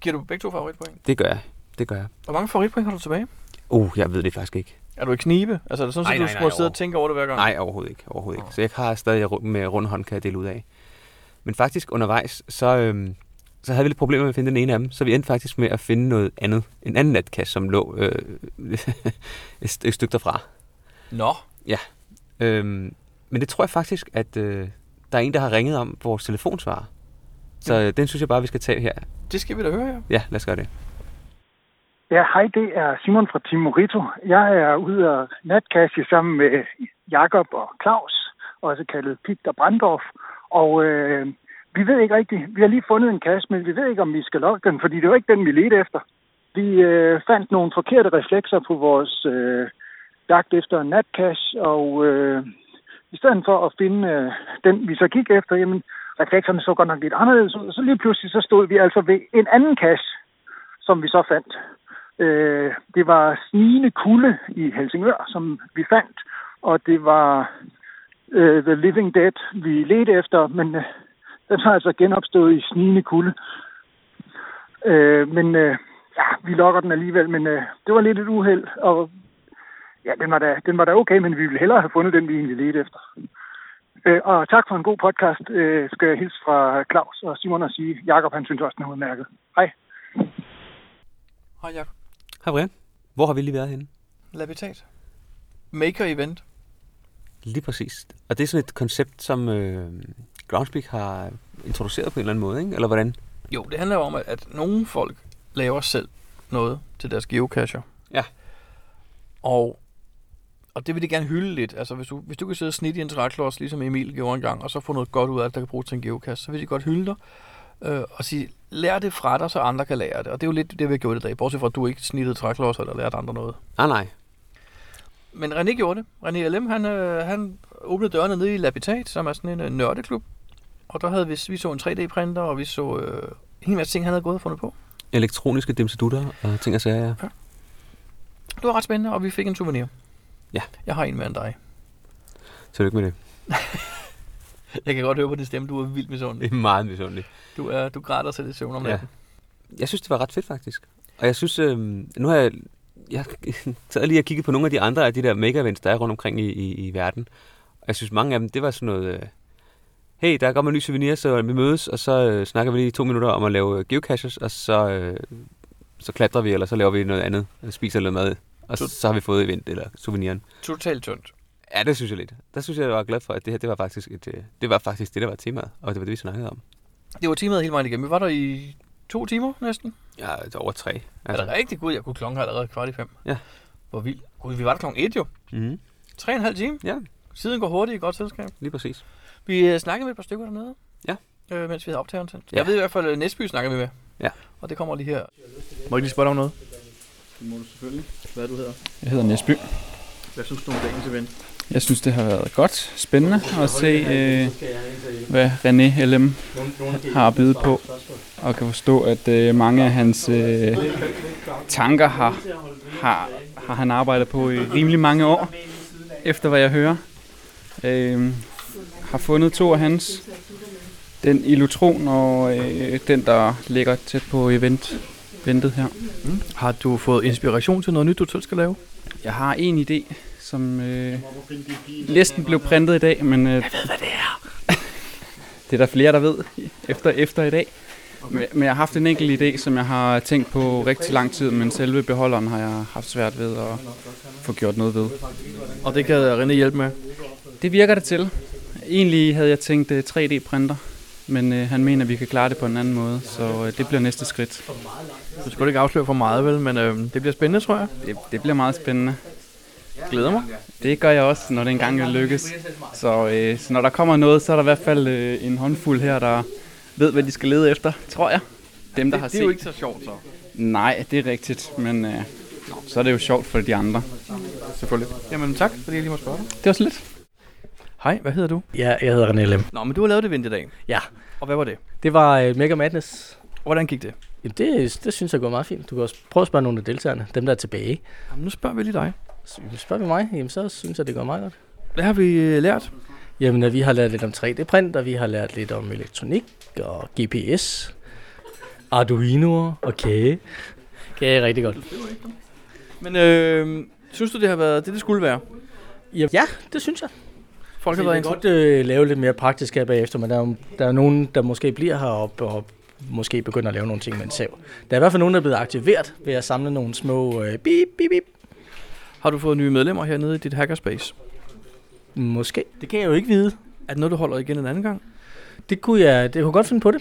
B: Giver du begge to favoritpoint?
A: Det gør jeg. Det gør jeg.
B: Hvor mange favoritpoint har du tilbage?
A: Uh, jeg ved det faktisk ikke.
B: Er du i knibe? Altså er det sådan,
A: Nej,
B: at du
A: nej, nej,
B: må sidde og tænke over det hver gang?
A: Nej, overhovedet ikke. Overhovedet
B: Nå.
A: ikke. Så jeg har stadig ru- med rund hånd, kan jeg dele ud af. Men faktisk undervejs, så, øhm, så havde vi lidt problemer med at finde den ene af dem, så vi endte faktisk med at finde noget andet. En anden natkasse, som lå øh, et, st- et stykke derfra.
B: Nå,
A: Øhm, men det tror jeg faktisk, at øh, der er en, der har ringet om vores telefonsvarer. Så øh, den synes jeg bare, vi skal tage her.
B: det skal vi da høre, ja.
A: Ja, lad os gøre det.
H: Ja, hej, det er Simon fra Team Morito. Jeg er ude og natkasse sammen med Jakob og Claus, også kaldet Pigt og Brandorf. Og øh, vi ved ikke rigtigt, vi har lige fundet en kasse, men vi ved ikke, om vi skal logge den, fordi det var ikke den, vi ledte efter. Vi øh, fandt nogle forkerte reflekser på vores øh, jagt efter en natkasse, og øh, i stedet for at finde øh, den, vi så gik efter, jamen, reflekserne så godt nok lidt anderledes ud, så lige pludselig så stod vi altså ved en anden kasse, som vi så fandt. Øh, det var snigende kulde i Helsingør, som vi fandt, og det var øh, The Living Dead, vi ledte efter, men øh, den har altså genopstået i snigende kulde. Øh, men øh, ja, vi lokker den alligevel, men øh, det var lidt et uheld, og ja, den var, da, den var da okay, men vi ville hellere have fundet den, vi egentlig ledte efter. Øh, og tak for en god podcast, øh, skal jeg hilse fra Claus og Simon og sige, Jakob han synes også, den er udmærket. Hej.
B: Hej Jacob.
A: Hej Brian. Hvor har vi lige været henne?
B: Labitat. Maker event.
A: Lige præcis. Og det er sådan et koncept, som øh, Groundspeak har introduceret på en eller anden måde, ikke? Eller hvordan?
B: Jo, det handler jo om, at, at nogle folk laver selv noget til deres geocacher.
A: Ja.
B: Og, og det vil de gerne hylde lidt. Altså, hvis du, hvis du kan sidde og snitte i en træklods, ligesom Emil gjorde engang, og så få noget godt ud af det, der kan bruges til en geocache, så vil de godt hylde dig øh, og sige, lær det fra dig, så andre kan lære det. Og det er jo lidt det, vi har gjort i dag, bortset fra, at du ikke snittede træklodser eller lærte andre noget.
A: Ah nej,
B: Men René gjorde det. René LM, han, øh, han åbnede dørene nede i Labitat, som er sådan en øh, nørdeklub. Og der havde vi, vi så en 3D-printer, og vi så øh, en hel masse ting, han havde gået og fundet på.
A: elektroniske dimsedutter og ting og sager, ja.
B: Det var ret spændende, og vi fik en souvenir.
A: Ja.
B: Jeg har en mere end dig.
A: Tillykke med det.
B: Jeg kan godt høre på din stemme, du er vildt misundelig.
A: Det er meget misundeligt.
B: Du, er, du græder selv i søvn om
A: Ja.
B: natten.
A: Jeg synes, det var ret fedt faktisk. Og jeg synes, øh, nu har jeg, jeg taget lige og kigget på nogle af de andre af de der mega-events, der er rundt omkring i, i, i verden. Og jeg synes, mange af dem, det var sådan noget, øh, hey, der kommer en ny souvenir, så vi mødes, og så øh, snakker vi lige i to minutter om at lave øh, geocaches, og så, øh, så klatrer vi, eller så laver vi noget andet, øh, spiser noget mad, og så, så har vi fået event eller souveniren.
B: Totalt tyndt.
A: Ja, det synes jeg lidt. Der synes jeg, jeg var glad for, at det her, det var faktisk, et, øh, det, var faktisk det, der var temaet, og det var det, vi snakkede om.
B: Det var timet hele vejen igennem. Vi var der i to timer næsten.
A: Ja, det var over tre.
B: Altså. Er det rigtig gud, jeg kunne klokken allerede kvart i fem.
A: Ja.
B: Hvor vildt. Gud, vi var der klokken et jo.
A: Mm,
B: Tre og en halv time.
A: ja,
B: Siden går hurtigt i godt selskab.
A: lige præcis.
B: Vi øh, snakkede med et par stykker dernede.
A: Ja.
B: Øh, mens vi havde optageren tændt.
A: Ja.
B: Jeg ved i hvert fald, at Næsby snakker vi med.
A: Ja.
B: Og det kommer lige her. Må jeg lige spørge dig om noget?
I: Det må du selvfølgelig. Hvad du hedder?
J: Jeg hedder Næsby.
I: Hvad synes du om dagens event?
J: Jeg synes, det har været godt, spændende at se, øh, hvad René LM har at byde på. Og kan forstå, at øh, mange af hans øh, tanker har, har, har han arbejdet på i rimelig mange år, efter hvad jeg hører. Øh, har fundet to af hans. Den Illutron og øh, den, der ligger tæt på event, ventet her.
B: Mm. Har du fået inspiration til noget nyt, du selv skal lave?
J: Jeg har en idé, som øh, næsten blev printet i dag, men... Øh, jeg ved, hvad det er. det er der flere, der ved efter, efter i dag. Men, men jeg har haft en enkelt idé, som jeg har tænkt på rigtig lang tid, men selve beholderen har jeg haft svært ved at få gjort noget ved.
B: Og det kan René hjælpe med?
J: Det virker det til. Egentlig havde jeg tænkt øh, 3D-printer, men øh, han mener, at vi kan klare det på en anden måde, så øh, det bliver næste skridt.
B: Du skal ikke afsløre for meget, vel? Men øh, det bliver spændende, tror jeg.
J: Det, det bliver meget spændende.
B: Glæder mig.
J: Det gør jeg også, når det engang lykkes. Så, øh, så når der kommer noget, så er der i hvert fald øh, en håndfuld her, der ved, hvad de skal lede efter, tror jeg. Dem, der har
B: det,
J: set.
B: det er jo ikke så sjovt, så.
J: Nej, det er rigtigt, men øh, nå, så er det jo sjovt for de andre. Selvfølgelig.
B: Jamen tak, fordi jeg lige må spørge dig.
J: Det var så lidt.
B: Hej, hvad hedder du?
K: Ja, jeg hedder René Lem.
B: Nå, men du har lavet det vind i dag.
K: Ja.
B: Og hvad var det?
K: Det var øh, Mega Madness.
B: Hvordan gik det?
K: Jamen, det, det synes jeg går meget fint. Du kan også prøve at spørge nogle af deltagerne, dem der er tilbage.
B: Jamen, nu spørger vi lige dig.
K: Så, jamen, spørger vi mig, jamen, så synes jeg, det går meget godt.
B: Hvad har vi øh, lært?
K: Jamen, at vi har lært lidt om 3D-print, og vi har lært lidt om elektronik og GPS, Arduinoer og E. kage.
B: E
K: Kage er rigtig godt.
B: Men øh, synes du, det har været det, det skulle være?
K: Jamen, ja, det synes jeg.
B: Folk har
K: Altså,
B: været
K: jeg kan godt øh, lave lidt mere praktisk her bagefter, men der er, jo- der er nogen, der måske bliver heroppe og måske begynder at lave nogle ting med en sav. Der er i hvert fald nogen, der er blevet aktiveret ved at samle nogle små øh, bip, bip, bip.
B: Har du fået nye medlemmer hernede i dit hackerspace?
K: Måske. Det kan jeg jo ikke vide.
B: Er det noget, du holder igen en anden gang?
K: Det kunne jeg, det kunne jeg godt finde på det.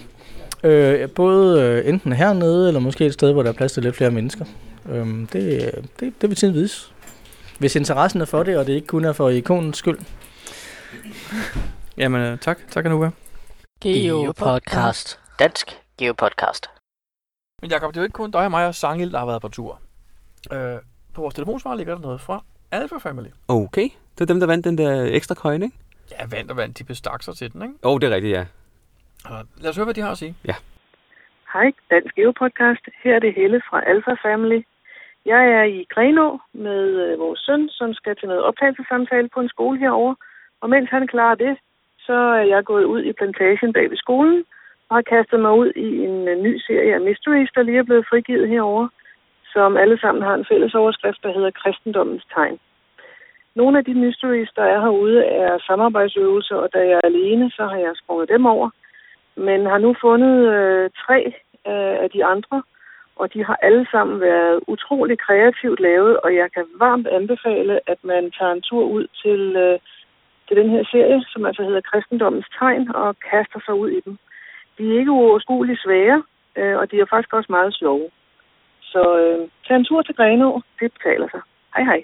K: Øh, både øh, enten hernede, eller måske et sted, hvor der er plads til lidt flere mennesker. Øh, det, øh, det, det vil tiden vise. Hvis interessen er for det, og det ikke kun er for ikonens skyld.
B: Jamen øh, tak. Tak, Anuba.
C: Geopodcast. Dansk Geopodcast.
B: Men Jacob, det er jo ikke kun dig og mig og Sangil, der har været på tur. Øh, på vores telefonsvar ligger der noget fra Alpha Family.
A: Okay, det var dem, der vandt den der ekstra coin, ikke?
B: Ja, vand og vand, de bestak sig til den, ikke?
A: Åh, oh, det er rigtigt, ja.
B: Og lad os høre, hvad de har at sige.
L: Hej, Dansk Geopodcast. Her er det Helle fra Alpha Family. Jeg er i Grenå med øh, vores søn, som skal til noget optagelsessamtale på en skole herover. Og mens han klarer det, så er jeg gået ud i plantagen bag ved skolen og har kastet mig ud i en øh, ny serie af mysteries, der lige er blevet frigivet herover, som alle sammen har en fælles overskrift, der hedder Kristendommens tegn. Nogle af de mysteries, der er herude, er samarbejdsøvelser, og da jeg er alene, så har jeg sprunget dem over men har nu fundet øh, tre øh, af de andre, og de har alle sammen været utrolig kreativt lavet, og jeg kan varmt anbefale, at man tager en tur ud til, øh, til den her serie, som altså hedder Kristendommens Tegn, og kaster sig ud i dem. De er ikke uoverskueligt svære, øh, og de er faktisk også meget sjove. Så øh, tag en tur til Grenå, det betaler sig. Hej hej.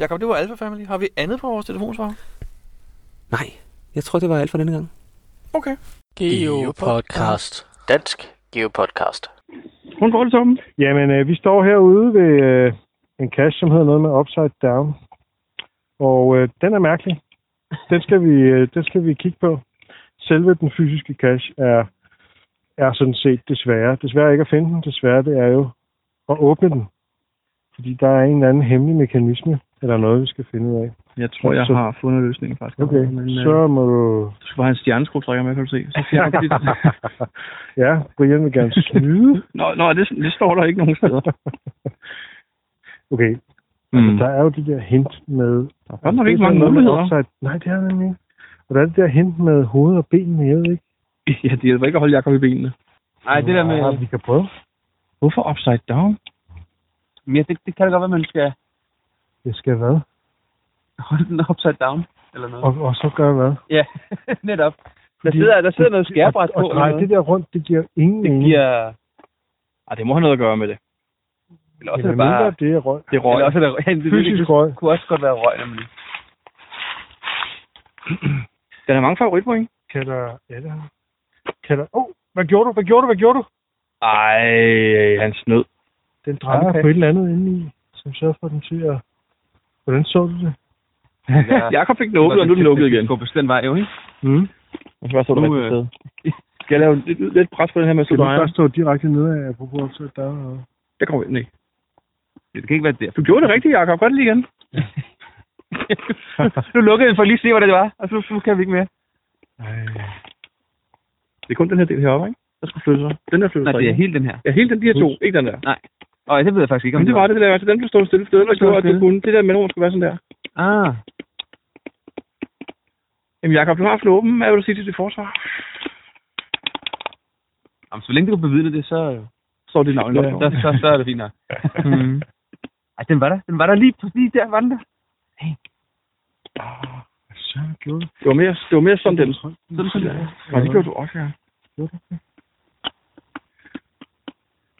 B: Jakob, det var Alpha Family. Har vi andet på vores telefonsvar?
A: Nej, jeg tror, det var alt for denne gang.
B: Okay.
C: Geopodcast. Dansk Geopodcast.
M: Hun får det sammen. Jamen, øh, vi står herude ved øh, en kasse, som hedder noget med Upside Down. Og øh, den er mærkelig. Den skal, vi, øh, den skal vi kigge på. Selve den fysiske cache er, er sådan set desværre. Desværre ikke at finde den. Desværre det er jo at åbne den. Fordi der er en eller anden hemmelig mekanisme, eller noget, vi skal finde ud af.
I: Jeg tror, jeg
M: Så-
I: har fundet løsningen faktisk.
M: Okay,
I: men,
M: så
I: øh,
M: må du...
I: Du skal bare have en stjerneskruetrækker med, kan du se. Så fjerner du dit.
M: ja, Brian vil gerne snyde.
I: Nå, nå det, det, står der ikke nogen steder.
M: Okay. Mm. Altså, der er jo de der hint med... Der er
I: godt nok ikke mange muligheder.
M: Nej, det er der nemlig ikke. Og der er det der hint med hoved og ben, jeg ved ikke.
I: ja, det hjælper ikke at holde Jakob i benene.
N: Nej, det der med...
M: Ja, Ah, vi kan prøve.
N: Hvorfor upside down? Men ja, det, det kan da godt være, at man skal
M: Det skal hvad?
N: holde den upside down, eller noget.
M: Og, og så gør hvad?
N: Ja, netop. Der
M: Fordi-
N: sidder, der sidder noget skærbræt
M: og,
N: på.
M: og, Nej, det der rundt, det giver ingen
I: Mm-hmm.
M: mening.
N: giver...
I: Ej, det må have noget at gøre med det.
N: Eller
M: Det
N: også
M: er
N: er det bare...
M: mindre, det er røg.
I: Det er røg.
N: Eller også er det røg. Ja, det,
M: Fysisk
N: det,
M: røg.
N: Det kunne også godt være røg, nemlig.
I: Den har mange favoritpoint.
M: Kan der... Ja, der... Kan der... Oh, hvad gjorde du? Hvad gjorde du? Hvad gjorde du?
I: Ej, han snød.
M: Den drejer
I: Okay.
M: okay. på et eller andet inde i, som sørger for, at den til at... Hvordan så du det?
I: Jakob fik den åbnet, og nu er den lukket igen. Gå bestemt vej, jo, ikke?
M: Mm.
I: Og så bare så
M: Nu,
I: du
M: øh,
I: sted. Skal jeg lave lidt, lidt pres på den her med, at
M: Skal
I: du
M: du
I: drejer?
M: først stå direkte nedad, apropos opsat der? Og...
I: Jeg kommer ind, ikke? Det kan ikke være der. Du gjorde det rigtigt, Jakob. Gør det lige igen.
N: Nu lukkede den for lige at se, hvad det var,
I: Altså,
N: og så, så kan vi ikke mere.
I: Det er kun den her del heroppe, ikke? Der skulle flytte sig. Den der
N: Nej,
I: flytter sig
N: det er
I: ikke.
N: hele den her.
I: Ja, hele den, de her to, ikke den der.
N: Nej. Og det ved jeg faktisk ikke, om
I: Men det var det, det der. Altså, den blev stået stille, for det der gjorde, at du
N: stille.
I: kunne. Det der mellemrum skulle være sådan der.
N: Ah.
I: Jamen, Jakob, du har haft den åben. Hvad vil du sige til dit forsvar?
N: Jamen, så længe du kan bevidne det, så...
I: Så er det navn i loftet.
N: så, så, så, er det fint nok.
I: Mm.
N: Ej, den var der. Den var der lige præcis der, var den der.
M: Så gjorde du.
I: Det var mere, det var mere sådan den.
H: 嗯
N: Sådan, sådan der.
I: Nej, det gjorde du også,
H: 啊
I: ja.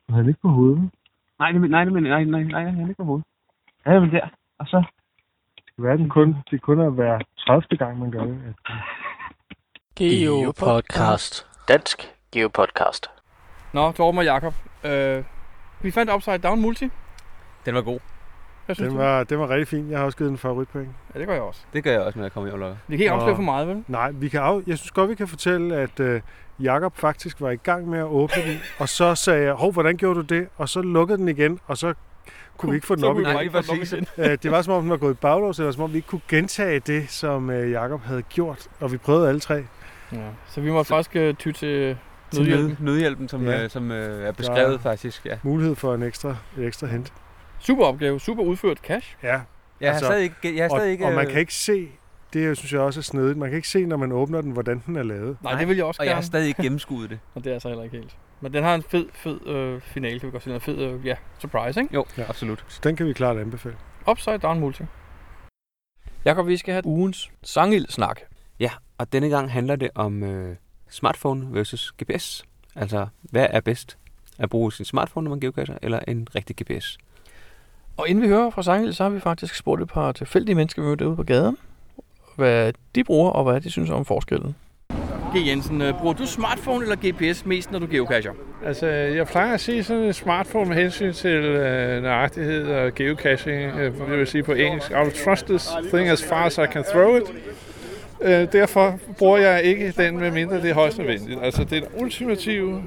M: Du havde den ikke på hovedet.
N: Nej, det, men- nej, det, men- nej, nej, nej, jeg er ikke på hovedet. Ja, det var der. Og så...
M: Det kan være, den kun, det kun er hver 30. gang, man gør det. At...
C: Geo Podcast. Dansk Geo Podcast.
B: Nå, Torben og Jakob. Øh, vi fandt Upside Down Multi.
A: Den var god.
B: Hvad synes
M: Den
B: du?
M: var, den var rigtig fin. Jeg har også givet den favoritpoint.
B: Ja, det gør jeg også.
A: Det gør jeg også, når jeg kommer hjem og lukker.
B: Vi kan ikke afsløre
M: Og-
B: for meget, vel?
M: Nej, vi kan af... jeg synes godt, vi kan fortælle, at øh, Jakob faktisk var i gang med at åbne den, og så sagde jeg, hov, hvordan gjorde du det? Og så lukkede den igen, og så kunne vi ikke få den
A: Så
M: op
A: kunne vi
M: igen.
A: bare ikke få den op igen.
M: Øh, det var som om, den var gået i baglås, eller som om vi ikke kunne gentage det, som øh, Jakob havde gjort, og vi prøvede alle tre.
B: Ja. Så vi måtte faktisk øh, ty til
A: Til
B: nødhjælp.
A: nød- nødhjælpen, som, øh, som øh, er beskrevet
M: Der
A: faktisk. Ja.
M: Mulighed for en ekstra, et ekstra hint.
B: Super opgave, super udført cash.
M: Ja.
A: Jeg har stadig ikke- jeg har
M: Altså, og,
A: stadig ikke,
M: Og man
A: øh,
M: kan ikke se, det synes jeg også er snedigt, man kan ikke se, når man åbner den, hvordan den er lavet.
B: Nej, det vil jeg også
A: og
B: gerne.
A: jeg har stadig ikke gennemskuet det.
B: Og det er så heller ikke helt. Men den har en fed, fed øh, finale, kan vi godt sige. En fed, øh, ja, surprise, ikke?
A: Jo, ja. absolut.
M: Så den kan vi klart anbefale.
B: Upside down multi. Jakob, vi skal have ugens sangildsnak.
A: Ja, og denne gang handler det om øh, smartphone versus GPS. Altså, hvad er bedst? At bruge sin smartphone, når man geocacher, eller en rigtig GPS?
B: Og inden vi hører fra Sangild, så har vi faktisk spurgt et par tilfældige mennesker, vi mødte ude på gaden, hvad de bruger og hvad de synes om forskellen. G. Jensen, øh, bruger du smartphone eller GPS mest, når du geocacher?
O: Altså, jeg plejer at sige sådan en smartphone med hensyn til øh, nøjagtighed og geocaching. Øh, det vil sige på engelsk, I'll trust this thing as far as I can throw it. Øh, derfor bruger jeg ikke den, medmindre det er højst nødvendigt. Altså, den ultimative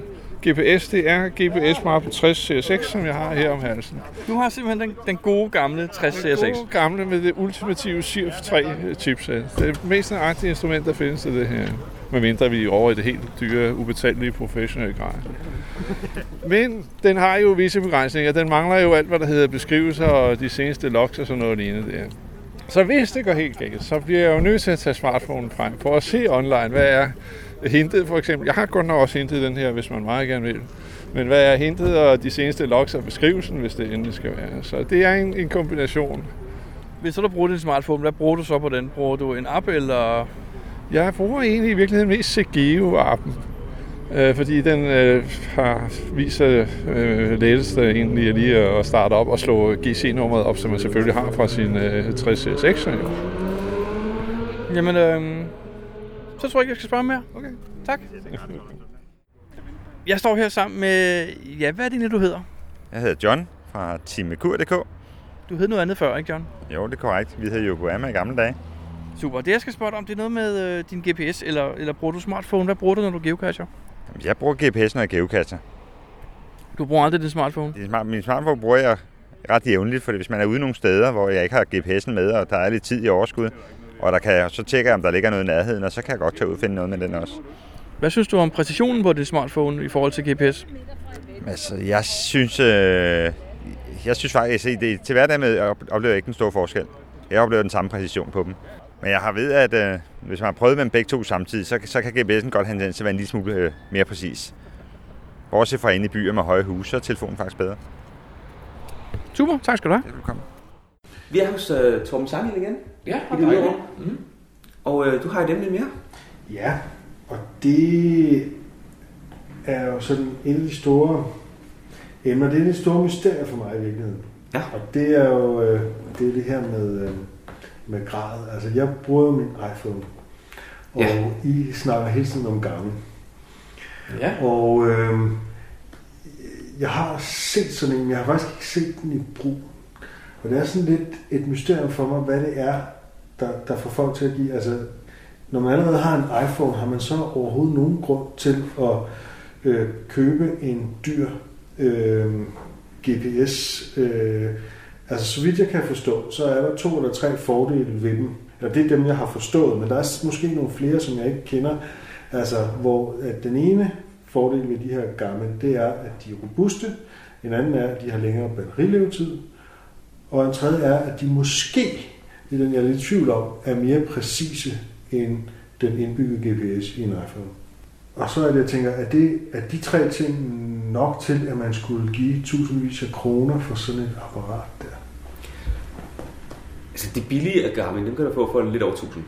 O: GPS, det er GPS Mark 60 CSX, som jeg har her om halsen.
B: Du har simpelthen den, den gode gamle 60
O: Den
B: CSX.
O: gode gamle med det ultimative CIRF 3 chipset. Det er Øh, mest nøjagtige instrument, der findes til det her. Medmindre vi er over i det helt dyre, ubetalelige professionelle grad. Men den har jo visse begrænsninger. Den mangler jo alt, hvad der hedder beskrivelser og de seneste logs og sådan noget lignende der. Så hvis det går helt galt, så bliver jeg jo nødt til at tage smartphonen frem for at se online, hvad er hintet for eksempel. Jeg har godt nok også hintet den her, hvis man meget gerne vil. Men hvad er hintet og de seneste logs og beskrivelsen, hvis det endelig skal være. Så det er en, en kombination.
B: Hvis så du bruger din smartphone, hvad bruger du så på den? Bruger du en app eller...
O: Jeg bruger egentlig i virkeligheden mest Segeo-appen, øh, fordi den øh, har viser øh, lettest øh, egentlig lige at starte op og slå GC-nummeret op, som man selvfølgelig har fra sin øh, 60 CSX. -er, jo.
B: Jamen, øh, så tror jeg ikke, jeg skal spørge mere. Okay, tak. Jeg står her sammen med... Ja, hvad er det egentlig, du hedder?
P: Jeg hedder John fra teamekur.dk.
B: Du hed noget andet før, ikke John?
P: Jo, det er korrekt. Vi hed Yokohama i gamle dage.
B: Super. Det, jeg skal spørge dig om, det er noget med øh, din GPS, eller, eller bruger du smartphone? Hvad bruger du, når du geocacher?
P: Jamen, Jeg bruger GPS, når jeg geocacher.
B: Du bruger aldrig din smartphone?
P: Min smart- Min smartphone bruger jeg ret jævnligt, fordi hvis man er ude nogle steder, hvor jeg ikke har GPS'en med, og der er lidt tid i overskud, og der kan, jeg- så tjekker jeg, om der ligger noget i nærheden, og så kan jeg godt tage ud og finde noget med den også.
Q: Hvad synes du om præcisionen på din smartphone i forhold til GPS?
P: Altså, jeg synes, øh, jeg synes faktisk, at det, til hverdag med op- oplever jeg ikke den store forskel. Jeg oplever den samme præcision på dem. Men jeg har ved, at øh, hvis man har prøvet med dem begge to samtidig, så, så kan GPS'en godt have en tendens til at være en lille smule øh, mere præcis. Bortset fra inde i byer med høje huse, så er telefonen faktisk bedre.
Q: Super, tak skal du have.
P: Velkommen.
H: Vi er hos uh, Torben Sangel igen.
Q: Ja,
H: i det ydre rum.
A: Mm-hmm.
H: Og uh, du har et emne mere.
R: Ja, og det er jo sådan en af de store emner. Det er det store mysterie for mig i virkeligheden.
H: Ja.
R: Og det er jo øh, det, er det her med, øh, med grad. Altså, jeg bruger jo min iPhone, og
H: Ja.
R: I snakker hele tiden om gange.
Q: Ja.
R: Og øh, jeg har set sådan en, men jeg har faktisk ikke set den i brug. Og det er sådan lidt et mysterium for mig, hvad det er, der, der får folk til at give. Altså, når man allerede har en iPhone, har man så overhovedet nogen grund til at øh, købe en dyr øh, GPS? Øh, altså, så vidt jeg kan forstå, så er der to eller tre fordele ved dem. Eller det er dem, jeg har forstået, men der er måske nogle flere, som jeg ikke kender. Altså, hvor at den ene fordel ved de her gamle, det er, at de er robuste. En anden er, at de har længere batterilevetid. Og en tredje er, at de måske, det er den jeg er lidt i tvivl om, er mere præcise end den indbyggede GPS i en iPhone. Og så er det, jeg tænker, at det, er de tre ting nok til, at man skulle give tusindvis af kroner for sådan et apparat der?
A: Altså, det billige af Garmin, dem kan du få for lidt over 1000.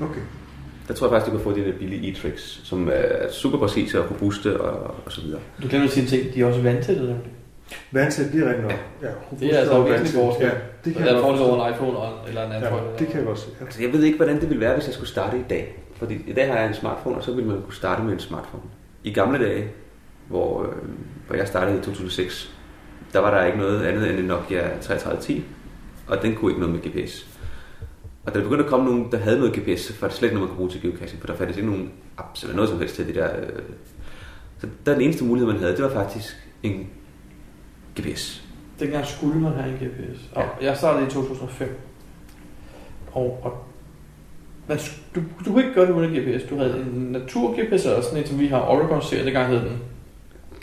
R: Okay.
A: Der tror jeg faktisk, du kan få de der billige e-tricks, som er super præcise og robuste og, og så videre.
B: Du glemmer at sige en ting, de er også vandsættet nemlig.
R: Vandsæt, det er rigtigt nok. Ja,
B: Det er altså
R: robust og
B: væsentlig
R: vandsæt.
B: forskel.
R: Ja, det kan
B: Der er
R: jeg godt
B: fordel over
R: forstå.
B: en iPhone og- eller en Android.
R: Ja, det kan jeg godt se.
A: Altså, jeg ved ikke, hvordan det ville være, hvis jeg skulle starte i dag. Fordi i dag har jeg en smartphone, og så ville man kunne starte med en smartphone. I gamle dage, hvor, øh, hvor jeg startede i 2006, der var der ikke noget andet end en Nokia 3310, og den kunne ikke noget med GPS. Og da der begyndte at komme nogen, der havde noget GPS, så var det slet ikke noget, man kunne bruge til geocaching, for der fandtes ikke nogen apps eller noget som helst til det der. Øh. Så der den eneste mulighed, man havde, det var faktisk en GPS.
B: Dengang skulle man have en GPS. Og jeg startede i 2005. Og, og men s- du, du kunne ikke gøre det uden en GPS. Du havde en natur-GPS, eller sådan en, som vi har Oregon-serie, dengang hed den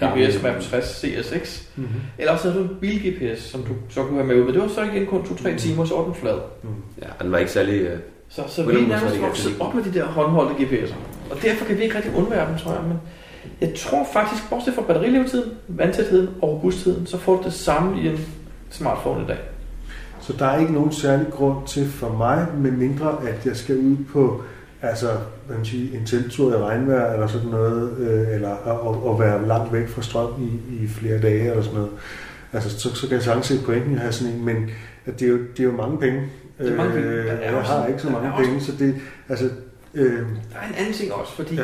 B: GPS Map 60 CSX.
R: Mhm.
B: Mm-hmm. Eller også havde du en bil-GPS, som du så kunne have med ud. Men det var så igen kun
R: Mhm.
B: 2-3 timer, så var den flad.
A: Mm. Ja, og den var ikke særlig... Øh,
B: Så, så
A: på
B: vi
A: den
B: er
A: måde, så var
B: nærmest
A: det ikke
B: vokset
A: rigtig-
B: op med de der håndholdte GPS'er. Og derfor kan vi ikke rigtig undvære dem, tror jeg. Men jeg tror faktisk, bortset fra batterilevetiden, vandtætheden og robustheden, så får du det samme i en smartphone i dag.
R: Så der er ikke nogen særlig grund til for mig, medmindre at jeg skal ud på altså, hvad man siger, en teltur i regnvejr eller sådan noget, øh, eller og, og være langt væk fra strøm i, i flere dage eller sådan noget. Altså, så, så kan jeg sagtens se pointen i at have sådan en, men at det, er jo, det er jo mange penge.
B: Det er mange penge.
R: Øh,
B: Der er
R: jeg
B: også-
R: har ikke så
B: der er
R: mange
B: også-
R: penge, så det, altså, øh,
B: Der er en anden ting også, fordi ja.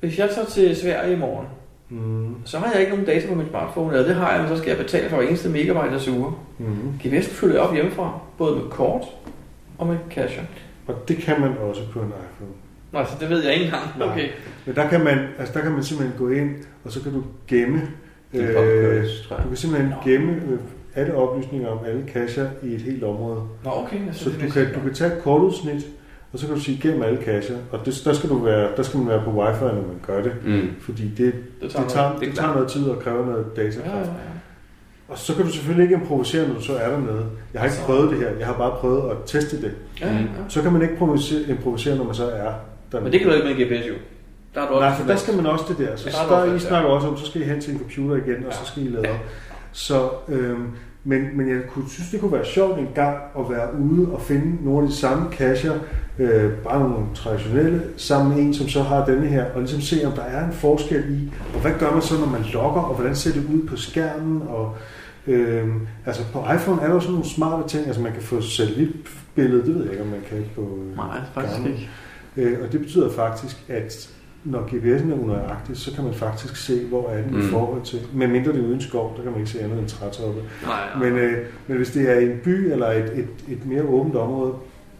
B: hvis jeg tager til Sverige i morgen,
R: mm,
B: så har jeg ikke nogen data på min smartphone, eller det har jeg, men så skal jeg betale for hver eneste megabyte, jeg suger.
R: mm.
B: GPS'en følger jeg op hjemmefra, både med kort og med casher.
R: Og det kan man også på en iPhone.
B: Nej, så altså, det ved jeg ikke engang. Okay.
R: Men der kan, man, altså der kan man simpelthen gå ind, og så kan du gemme... øh,
B: Det er popcorn,
R: du kan simpelthen gemme øh, alle oplysninger om alle kasser i et helt område.
B: Nå, okay, jeg synes,
R: så
B: det
R: du
B: vidste
R: kan,
B: jeg
R: du kan tage et kortudsnit, og så kan du sige gem alle kasser. Og det, der, skal du være, der skal man være på wifi, når man gør det.
A: Mm.
R: Fordi det, det, tager, det, tager,
A: noget-
R: det,
A: det er
R: det tager
A: klart.
R: noget tid og kræver noget datakraft.
B: Ja, ja, ja.
R: Og så kan du selvfølgelig ikke improvisere, når du så er dernede. Jeg har ikke
B: Så-
R: prøvet det her, jeg har bare prøvet at teste det.
B: Ja, ja, ja.
R: Så kan man ikke improvisere, improvisere når man så er dernede.
B: Men det kan du ikke med en GPS jo. Der er du også
R: Nej, for der skal man også det der. Så
B: Ja,
R: ja,
B: der er
R: der,
B: noget
R: I
B: fast, ja.
R: snakker også om, så skal I hen til en computer igen, og så skal I lade op. Så, øhm, men, men jeg kunne, synes, det kunne være sjovt en gang at være ude og finde nogle af de samme kasser, øh, bare nogle traditionelle, sammen med en, som så har denne her, og ligesom se, om der er en forskel i, og hvad gør man så, når man logger, og hvordan ser det ud på skærmen, og Øhm, altså på iPhone er der jo sådan nogle smarte ting, altså man kan få satellitbillede, det ved jeg ikke, om man kan på øh,
B: Nej, faktisk
R: Garmin.
B: ikke.
R: Øh, og det betyder faktisk, at når GPS'en er unøjagtig, så kan man faktisk se, hvor er den mm.
A: Mm.
R: i forhold til. Med mindre det er uden skov, der kan man ikke se andet end trætoppe.
A: Nej,
R: Men, øh, men hvis det er en by eller et, et, et mere åbent område,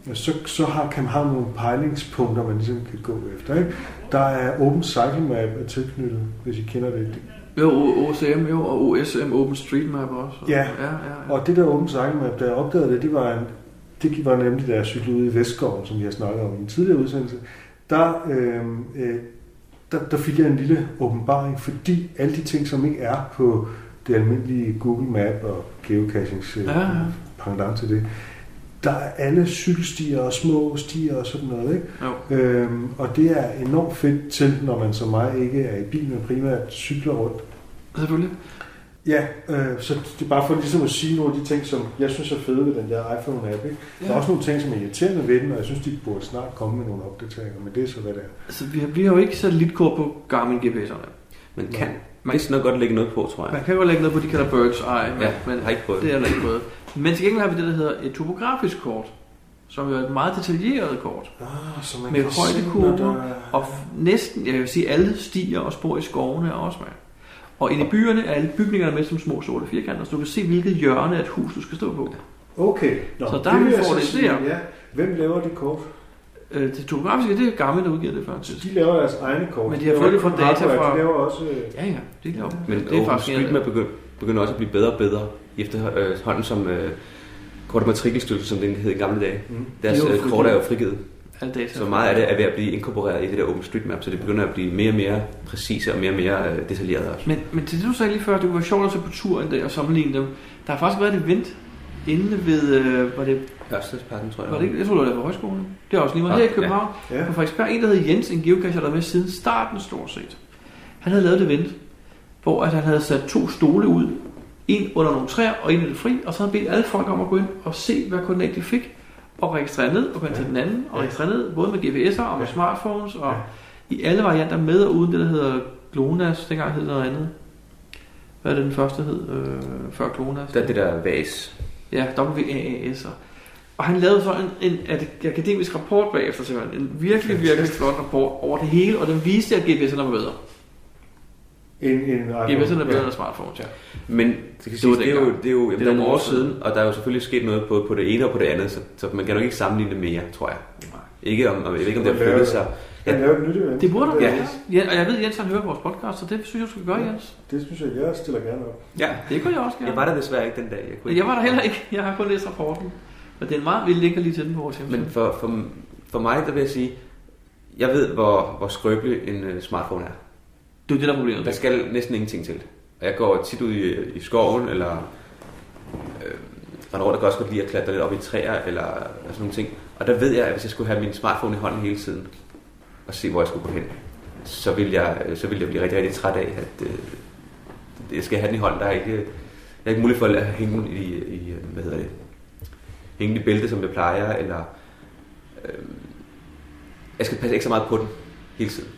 R: Og så, så har, kan man have nogle pejlingspunkter, man ligesom kan gå efter. Ikke? Der er Open Cycle Map er tilknyttet, hvis I kender det. det
B: Jo, O- OCM jo, og OSM Open Street Map også.
R: Ja.
B: ja, ja.
R: Og det der Open Cycle Map, da jeg opdagede det, det var, en, det var nemlig, da jeg cyklede ude i Vestskoven, som jeg snakkede om i en tidligere udsendelse. Der, øh, øh, der, der fik jeg en lille åbenbaring, fordi alle de ting, som ikke er på det almindelige Google Map og geocachings øh,
B: Ja, ja.
R: pendant til det, der er alle cykelstier og små stier og sådan noget, ikke?
B: Jo.
R: Øhm, og det er enormt fedt til, når man som mig ikke er i bil, men primært cykler rundt.
B: Selvfølgelig.
R: Ja, øh, så det er bare for ligesom at sige nogle af de ting, som jeg synes er fede ved den der iPhone-app. Ikke? Ja. Der
B: Ja.
R: er også nogle ting, som er irriterende ved den, og jeg synes, de burde snart komme med nogle opdateringer, men det er så, hvad det er.
B: Altså, vi har, vi har jo ikke satellitkort på Garmin GPS'erne.
A: Man kan man, vist nok godt lægge noget på, tror jeg.
B: Man kan godt lægge noget på, de kalder bird's eye, men,
A: Ja,
B: men
A: har ikke prøvet.
B: det er der ikke prøvet. Men til gengæld har vi det, der hedder et topografisk kort, som jo er et meget detaljeret kort.
R: Ah, så man
B: med
R: kan se,
B: højdekurver,
R: når der-
B: og f- næsten, jeg vil sige, alle stier og spor i skovene er også med. Og inde i byerne er alle bygningerne med som små sorte firkanter, så du kan se, hvilket hjørne af et hus, du skal stå på.
R: Okay,
B: Nå, så der har vi
R: vil jeg så
B: fordel
R: sige,
B: der.
R: Ja. Hvem laver det kort?
B: Øh, det topografiske, det er gamle, der udgiver det faktisk.
R: De laver deres egne kort.
B: Men de har fået det fra
R: laver ikke
B: data
R: kun hardware,
B: fra...
R: De laver også...
B: Ja, ja, det laver
A: Men
B: det
A: det er faktisk
B: fascinerende.
A: street map begynder, begynder også at blive bedre og bedre efterhånden som øh, kort- og matrikelstyrelsen, som den hed i gamle dage.
B: Mm.
A: Mm. Deres
B: De er jo
A: øh, kort er jo
B: frigivet.
A: frigivet.
B: Al data.
A: Så meget af det er ved at blive inkorporeret i det der open street map, så det begynder at blive mere og mere præcise og mere og mere øh, detaljeret også.
B: Men, men til det du sagde lige før, det kunne være sjovt at tage på tur en dag og sammenligne dem. Der har faktisk været et event inde ved, øh, var det...
A: Ørstedsparken, tror jeg.
B: Var det, ikke- jeg tror, det var der på højskolen. Det er også lige meget
A: Ja,
B: her i København. Ja. På Frederiksberg, en der hed Jens, en geocacher, der var med siden starten stort set. Han havde lavet et event, hvor at han havde sat to stole ud. En under nogle træer, og en i det fri. Og så havde han bedt alle folk om at gå ind og se, hvad koordinat de fik. Og registrere ned, og gå ind til den anden, og registrere ned, både med GPS'er og med smartphones, og i alle varianter med og uden det, der hedder GLONASS, dengang hed det noget andet. Hvad er det, den første hed, øh, før GLONASS?
A: Der er det der VAS.
B: Ja, WAAS. Og han lavede så en, en ak- akademisk rapport bagefter, simpelthen. En virkelig, virkelig flot rapport over det hele, og den viste, at GPS'erne var bedre.
R: En, en
B: GPS'erne er bedre end smartphones, ja.
A: Men det, kan sige,
B: var
A: det, er jo,
B: dengang.
A: det er
B: Det
A: jo jamen,
B: er
A: det er
B: nogle
A: nogle
B: år
A: år siden, og der er jo selvfølgelig sket noget på, på det ene og på det andet, så, så man kan nok ikke sammenligne det mere, tror jeg. Ikke om, om- jeg ved ikke, om det har
R: Man laver-
A: flyttet sig.
R: man laver et nyt event.
B: Det burde du
A: Ja.
B: ja. ja. og jeg ved, at Jens han hører vores podcast, så det synes jeg, du skal gøre, Jens.
R: Det synes jeg, jeg stiller gerne op.
A: Ja,
B: det kunne jeg også gerne.
A: Jeg var der desværre ikke den dag. Jeg, kunne
B: Men jeg var der heller ikke. Jeg har kun læst rapporten. Men det er en meget vild linker lige til den på vores hjemmeside.
A: Men for, for, for mig, der vil jeg sige, jeg ved, hvor, hvor skrøbelig en øh, smartphone er.
B: Det er det, der er problemet.
A: Der skal næsten ingenting til. Og jeg går tit ud i, i skoven, eller øh, render rundt og kan også godt lide at klatre lidt op i træer, eller sådan nogle ting. Og der ved jeg, at hvis jeg skulle have min smartphone i hånden hele tiden, og se, hvor jeg skulle gå hen, så ville jeg, øh, så ville jeg blive rigtig, rigtig træt af, at øh, jeg skal have den i hånden. Der er ikke, der er ikke mulighed for at hænge den i, i, øh, hvad hedder det, hænge den i bælte, som jeg plejer, eller øh, jeg skal passe ikke så meget på den hele tiden.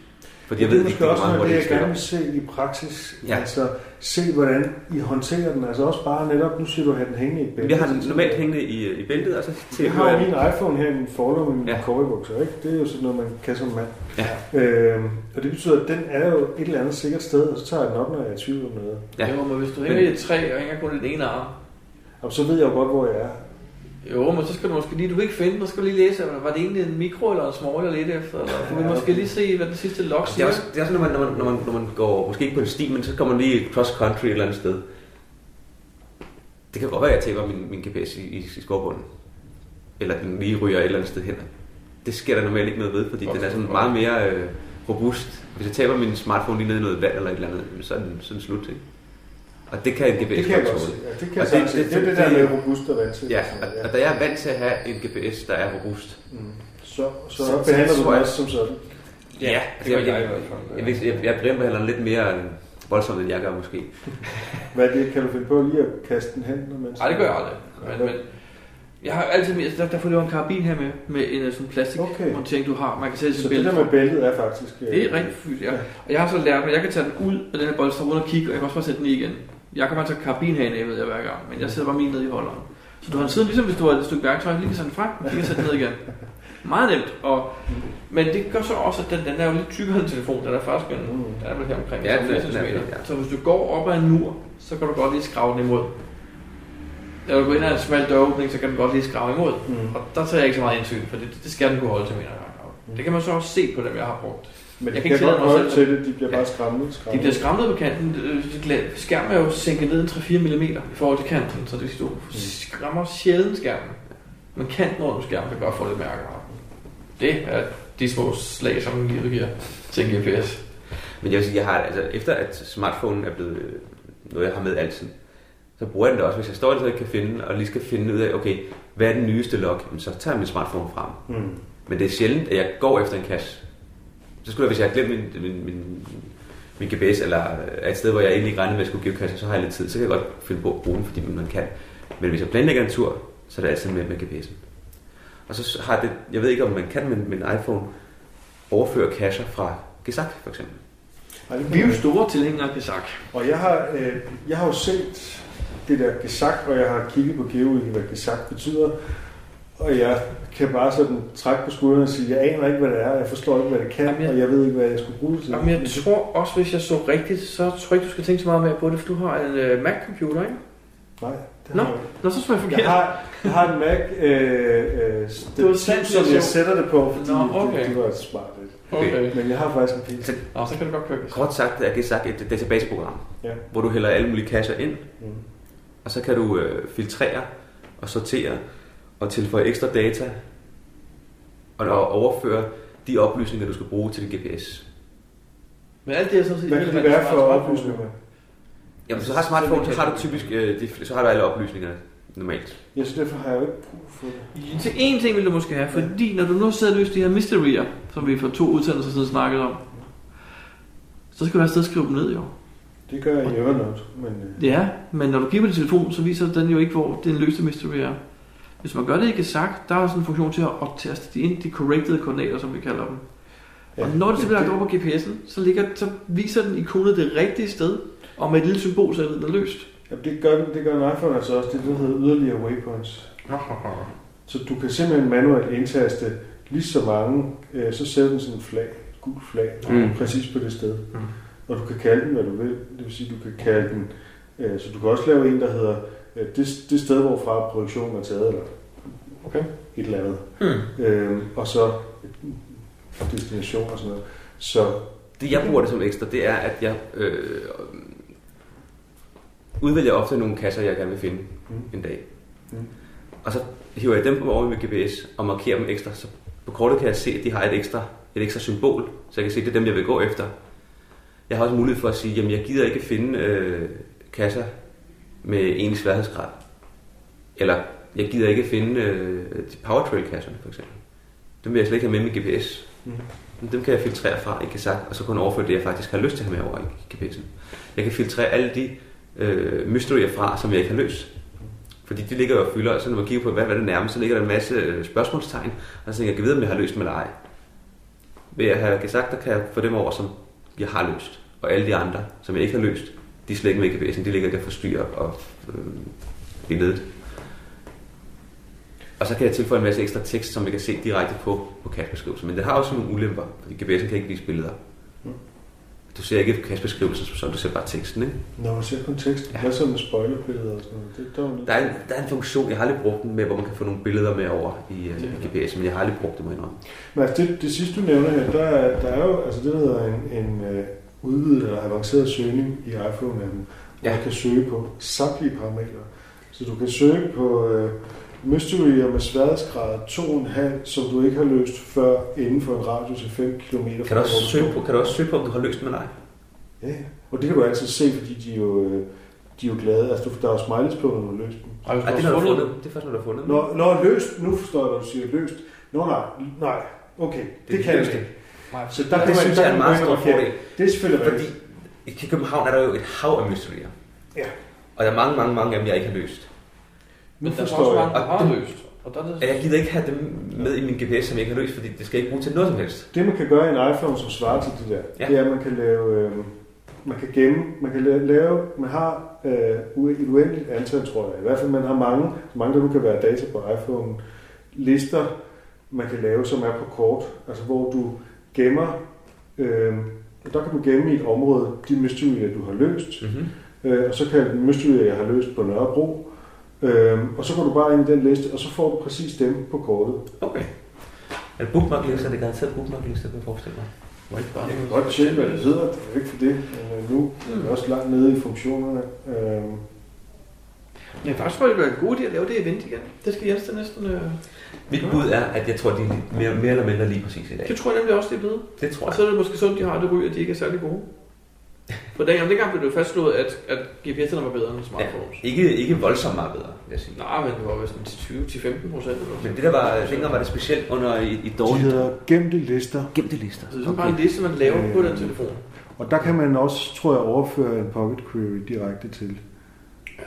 A: Fordi jeg
R: det
A: ved
R: er
A: ikke,
R: måske også
A: hvor meget
R: noget, det,
A: hurtigt
R: jeg
A: den
R: gerne
A: svinger.
R: vil se i praksis.
A: Ja.
R: Altså, se hvordan I håndterer den. Altså også bare netop, nu siger du, at den hængende i bæltet.
A: Jeg har den normalt hængende i, i bæltet, og så til
R: Jeg har jo min iPhone her i min forlomme med mine cowboybukser, ikke? Det er jo sådan noget, man kan som mand. Ja. Øhm, og det betyder, at den er jo et eller andet sikkert sted, og så tager jeg den op, når jeg er i tvivl om noget.
A: Ja.
B: Jo, men hvis du hænger i et træ og hænger kun i den ene arm.
R: Og så ved jeg jo godt, hvor jeg er.
B: Jo, men så skal du måske lige, du kan ikke finde den, så skal du lige læse, var det egentlig en mikro eller en small eller lidt efter, eller du vil måske lige se, hvad den sidste log
A: Det er
B: siger.
A: også, det er også når, man, når, man, når, man, når man går, måske ikke på en sti, men så kommer man lige cross country et eller andet sted. Det kan godt være, at jeg taber min, min GPS i, i, i skovbunden. Eller den lige ryger et eller andet sted hen. Det sker der normalt ikke noget ved, fordi den er sådan meget mere øh, robust. Hvis jeg taber min smartphone lige ned i noget vand eller et eller andet, så er den sådan slut. Ikke? Og det kan en GPS
R: Det kan jeg
A: godt
R: godt se.
A: tåle.
R: Ja, det kan jeg
A: Og
R: sagtens se. Det er det der med robust og vant til.
A: Ja,
R: Og
A: og,
R: sådan, ja.
A: og da jeg er vant til at have en GPS, der er robust,
R: Mm. Så, så, så behandler du
A: tror
R: den
A: jeg-
R: også som sådan.
A: Ja, ja det
R: gør
A: jeg,
R: jeg i
A: jeg, jeg,
R: hvert
A: jeg, jeg, jeg brimbehandler lidt mere øh, voldsomt, end jeg gør måske.
R: Hvad er det, kan du finde på lige at kaste den hen? Når man
B: Nej, det gør jeg aldrig. Men, men jeg har altid med, der, der får du en karabin her med, med en øh, sådan plastikmontering, du har. Man kan sætte
R: Så
B: sin
R: det
B: bælte.
R: der med bæltet er faktisk... øh,
B: Det er rigtig fyldt, ja. Og jeg har så lært, at jeg kan tage den ud af den her bolster rundt og kigge, og jeg kan også bare sætte den i igen. Jeg kan bare tage karabin her i ved jeg hver gang, men jeg sætter bare min ned i holderen. Så du har den siden, ligesom hvis du har et stykke værktøj, lige kan sætte den frem, og lige kan sætte den ned igen. Meget nemt, og, men det gør så også, at den, den er jo lidt tykkere end telefon, den er faktisk en,
R: Mm.
B: den er vel her omkring
A: Ja,
B: ja,
A: den er-
B: 50
A: den
B: cm.
A: er-
B: Så hvis du går op ad en mur, så kan du godt lige skrave den imod. når du går ind ad en smal døråbning, så kan den godt lige skrave imod. Mm. Og der tager jeg ikke så meget indsyn, for det, det skal den kunne holde til, mener jeg. Og Det kan man så også se på dem, jeg har brugt.
R: Men de
B: jeg
R: bliver godt holdt
B: selv-
R: til det, de bliver bare skræmmet, skræmmet.
B: De bliver skræmmet på kanten. Øh, gla- Skærmen er jo sænket ned en 3-4 mm i forhold til kanten, så det vil sige, du
R: Mm.
B: skræmmer sjældent skærmen. Men kanten rundt om skærmen kan godt få lidt mærker. Det er de små slag, som livet giver til en GPS.
A: Men jeg vil sige, jeg har, altså, efter at smartphonen er blevet øh, noget, jeg har med altid, så bruger jeg den da også. Hvis jeg står et sted, jeg kan finde, og lige skal finde ud af, okay, hvad er den nyeste log, Jamen, så tager jeg min smartphone frem.
R: Mm.
A: Men det er sjældent, at jeg går efter en cache. Så skulle jeg, hvis jeg har glemt min, min, min, min GPS, eller er et sted, hvor jeg egentlig ikke regnede med, at jeg skulle geocache, så har jeg lidt tid. Så kan jeg godt finde på at bruge den, fordi man kan. Men hvis jeg planlægger en tur, så er det altid med, med GPS'en. Og så har det, jeg ved ikke om man kan, men min iPhone overfører cacher fra Gesak for eksempel.
R: Ej, det
B: Vi er jo store tilhængere af Gesak.
R: Og jeg har, øh, jeg har jo set det der gesak, og jeg har kigget på geoen, hvad gesak betyder. Og jeg kan bare sådan trække på skuldrene og sige, jeg aner ikke, hvad det er, jeg forstår ikke, hvad det kan, og jeg ved ikke, hvad jeg skulle bruge det til.
B: Jamen, jeg tror også, hvis jeg så rigtigt, så tror jeg ikke, du skal tænke så meget mere på det, for du har en øh, Mac-computer, ikke?
R: Nej.
B: Nå, nå, så tror jeg forkert.
R: Jeg har, jeg har en Mac, øh, øh,
B: Det var
R: stativ,
B: sandt,
R: som
B: jeg
R: jeg
B: så.
R: sætter det på, fordi
B: Nå, okay.
R: det, det var smart. lidt.
B: Okay.
R: Men jeg har faktisk en PC.
B: Nå, så kan du godt køre Gesak.
A: Kort sagt er Gesak et databaseprogram,
R: Ja.
A: hvor du hælder alle mulige kasser ind,
R: Mm.
A: og så kan du øh, filtrere og sortere og tilføje ekstra data og, og overføre de oplysninger, du skal bruge til din GPS.
B: Men alt det er sådan set...
R: Hvad kan det
B: irrelevant
R: være for
B: smartphone.
R: oplysninger?
A: Jamen, hvis du har smartphone, så har du typisk øh, de, så har du alle oplysningerne normalt.
R: Jeg synes, derfor har jeg jo ikke brug for det.
B: Til én ting vil du måske have, fordi når du nu sidder og løser de her mysterier, som vi for to udsendelser siden snakkede om, så skal du have et sted at skrive dem ned, jo.
R: Det gør jeg i Evernote, men... Øh,
B: Ja, men når du kigger på din telefon, så viser den jo ikke, hvor den løste mystery er. Hvis man gør det ikke sagt, der er sådan en funktion til at optaste de ind de corrected koordinater, som vi kalder dem. Ja, og når det så bliver lagt over på GPS'en, så, ligger, så viser den ikonet det rigtige sted, og med et lille symbol, så er den løst.
R: Ja, det gør, det gør en iPhone altså også. Det er det, der hedder yderligere waypoints. så du kan simpelthen manuelt indtaste lige så mange, øh, så sætter den sådan en flag, et gult flag,
M: Mm.
R: mm. præcis på det sted. Mm. Og du kan kalde den, hvad du vil. Det vil sige, du kan kalde den, øh, så du kan også lave en, der hedder øh, det, det sted, hvorfra produktionen er taget, eller okay. et eller andet. Mm. Øh, og så destination og sådan noget. Så
A: Det jeg bruger det som ekstra, det er, at jeg øh, udvælger ofte nogle kasser, jeg gerne vil finde
R: Mm.
A: mm. en dag.
R: Mm.
A: Mm. Og så hiver jeg dem over med GPS og markerer dem ekstra. Så på kortet kan jeg se, at de har et ekstra, et ekstra symbol, så jeg kan se, at det er dem, jeg vil gå efter. Jeg har også mulighed for at sige, at jeg gider ikke finde øh, kasser med egentlig sværhedsgrad. Eller jeg gider ikke finde øh, de powertrail-kasserne for eksempel. Dem vil jeg slet ikke have med med GPS.
R: Mhm.
A: Mm. Dem kan jeg filtrere fra i Kazak, og så kun overføre det, jeg faktisk har lyst til at have med over i GPS'en. Jeg kan filtrere alle de øh, mysterier fra, som jeg ikke har løst. Fordi de ligger jo og fylder, og så når man kigger på, hvad, hvad er det nærmest, så ligger der en masse øh, spørgsmålstegn, og så tænker jeg, kan vide, om jeg har løst dem eller ej. Ved at have Kazak, der kan jeg få dem over, som jeg har løst. Og alle de andre, som jeg ikke har løst, de er slet ikke med i GPS'en, de ligger der forstyrrer og øh, i ledet. Og så kan jeg tilføje en masse ekstra tekst, som jeg kan se direkte på, på kastbeskrivelsen. Men det har også nogle ulemper, fordi GPS'en kan ikke vise billeder.
R: Mm.
A: Du ser ikke kastbeskrivelsen som sådan, du ser bare teksten, ikke?
R: når man ser konteksten, ja. hvad så med spoilerbilleder og sådan noget? Det, der er jo lidt-
A: Der er, en, der er en funktion, jeg har aldrig brugt den med, hvor man kan få nogle billeder med over i, uh, i GPS'en, men jeg har aldrig brugt det, må jeg indrømme.
R: Men altså det, det sidste, du nævner her, der er, der er jo altså det, der hedder en, en øh, udvidet eller avanceret søgning i iPhone-appen, hvor ja. du kan søge på samtlige parametre. Så du kan søge på øh, mysterier med sværhedsgrad 2,5, som du ikke har løst før inden for en radius af 5 km.
A: Kan du, også søge på, kan du også søge på, om du har løst den eller ej?
R: Ja, ja. og det kan du altid se, fordi de er jo, øh, de er jo glade. Altså, du- der er jo smileys på, når du løser dem.
A: Ej, hvis du Ej, det har har fundet fundet dem. dem. Det er først, når du har fundet dem.
R: Nå, nå, løst. Nu forstår jeg, når du siger løst. Nå, nej, nej. Okay, det, det kan jeg
A: løst
R: ikke.
A: Nej,
R: Så
A: det
R: der kan
A: synes jeg er en meget stor fordel.
R: Det er selvfølgelig
A: Fordi
R: rigtigt.
A: i København er der jo et hav af mysterier.
R: Ja.
A: Og der er mange, mange, mange af dem, jeg ikke har løst.
B: Men der er også mange, der
A: Og
B: har
A: dem-
B: løst. Og der er det
A: at jeg gider ikke have dem med i min GPS, som jeg ikke har løst, fordi det skal jeg ikke bruge til noget som helst.
R: Det man kan gøre i en iPhone, som svarer til det der, ja. det er, at man kan lave, øh, man kan gemme, man kan la- lave, man har øh, ue- et uendeligt antal, tror jeg. I hvert fald, man har mange, så mange der nu kan være data på iPhone, lister, man kan lave, som er på kort, altså hvor du gemmer, øh, og der kan du gemme i et område de mysterier, du har løst,
A: mm-hmm.
R: øh, og så kan den mysterier, jeg har løst på Nørrebro, Øhm, og så går du bare ind i den liste, og så får du præcis dem på kortet.
A: Okay. Er det bookmarklister? Det er garanteret bookmarklister, kan jeg forestille mig. Må ikke bare
R: Jeg kan godt tjekke, hvad det hedder. Det er jo ikke for det. Men øh, nu er vi også langt nede i funktionerne. Øhm,
B: Men jeg faktisk tror, det bliver en god idé at lave det event igen. Det skal Jens da næsten... Øh...
A: Mit bud er, at jeg tror, de er lidt mere, mere eller mindre lige præcis i dag.
B: Det tror jeg nemlig også, det er blevet.
A: Det tror jeg.
B: Og så er det måske sådan, de har det ryg, at de ikke er særlig gode. For dengang, dengang blev det jo fastslået, at, at GPS'erne var bedre end smartphones.
A: Ikke, ikke voldsomt meget bedre, vil jeg sige.
B: Nej, men det var vist en 10-20-15 procent.
A: Men det der var, dengang var det specielt under et, et
R: de
A: dårligt...
R: hedder gemte lister. Øh,
A: Gemte lister.
B: Så det er sådan bare en liste, man laver på den telefon.
R: Og der kan man også, tror jeg, overføre en pocket query direkte til. Øh,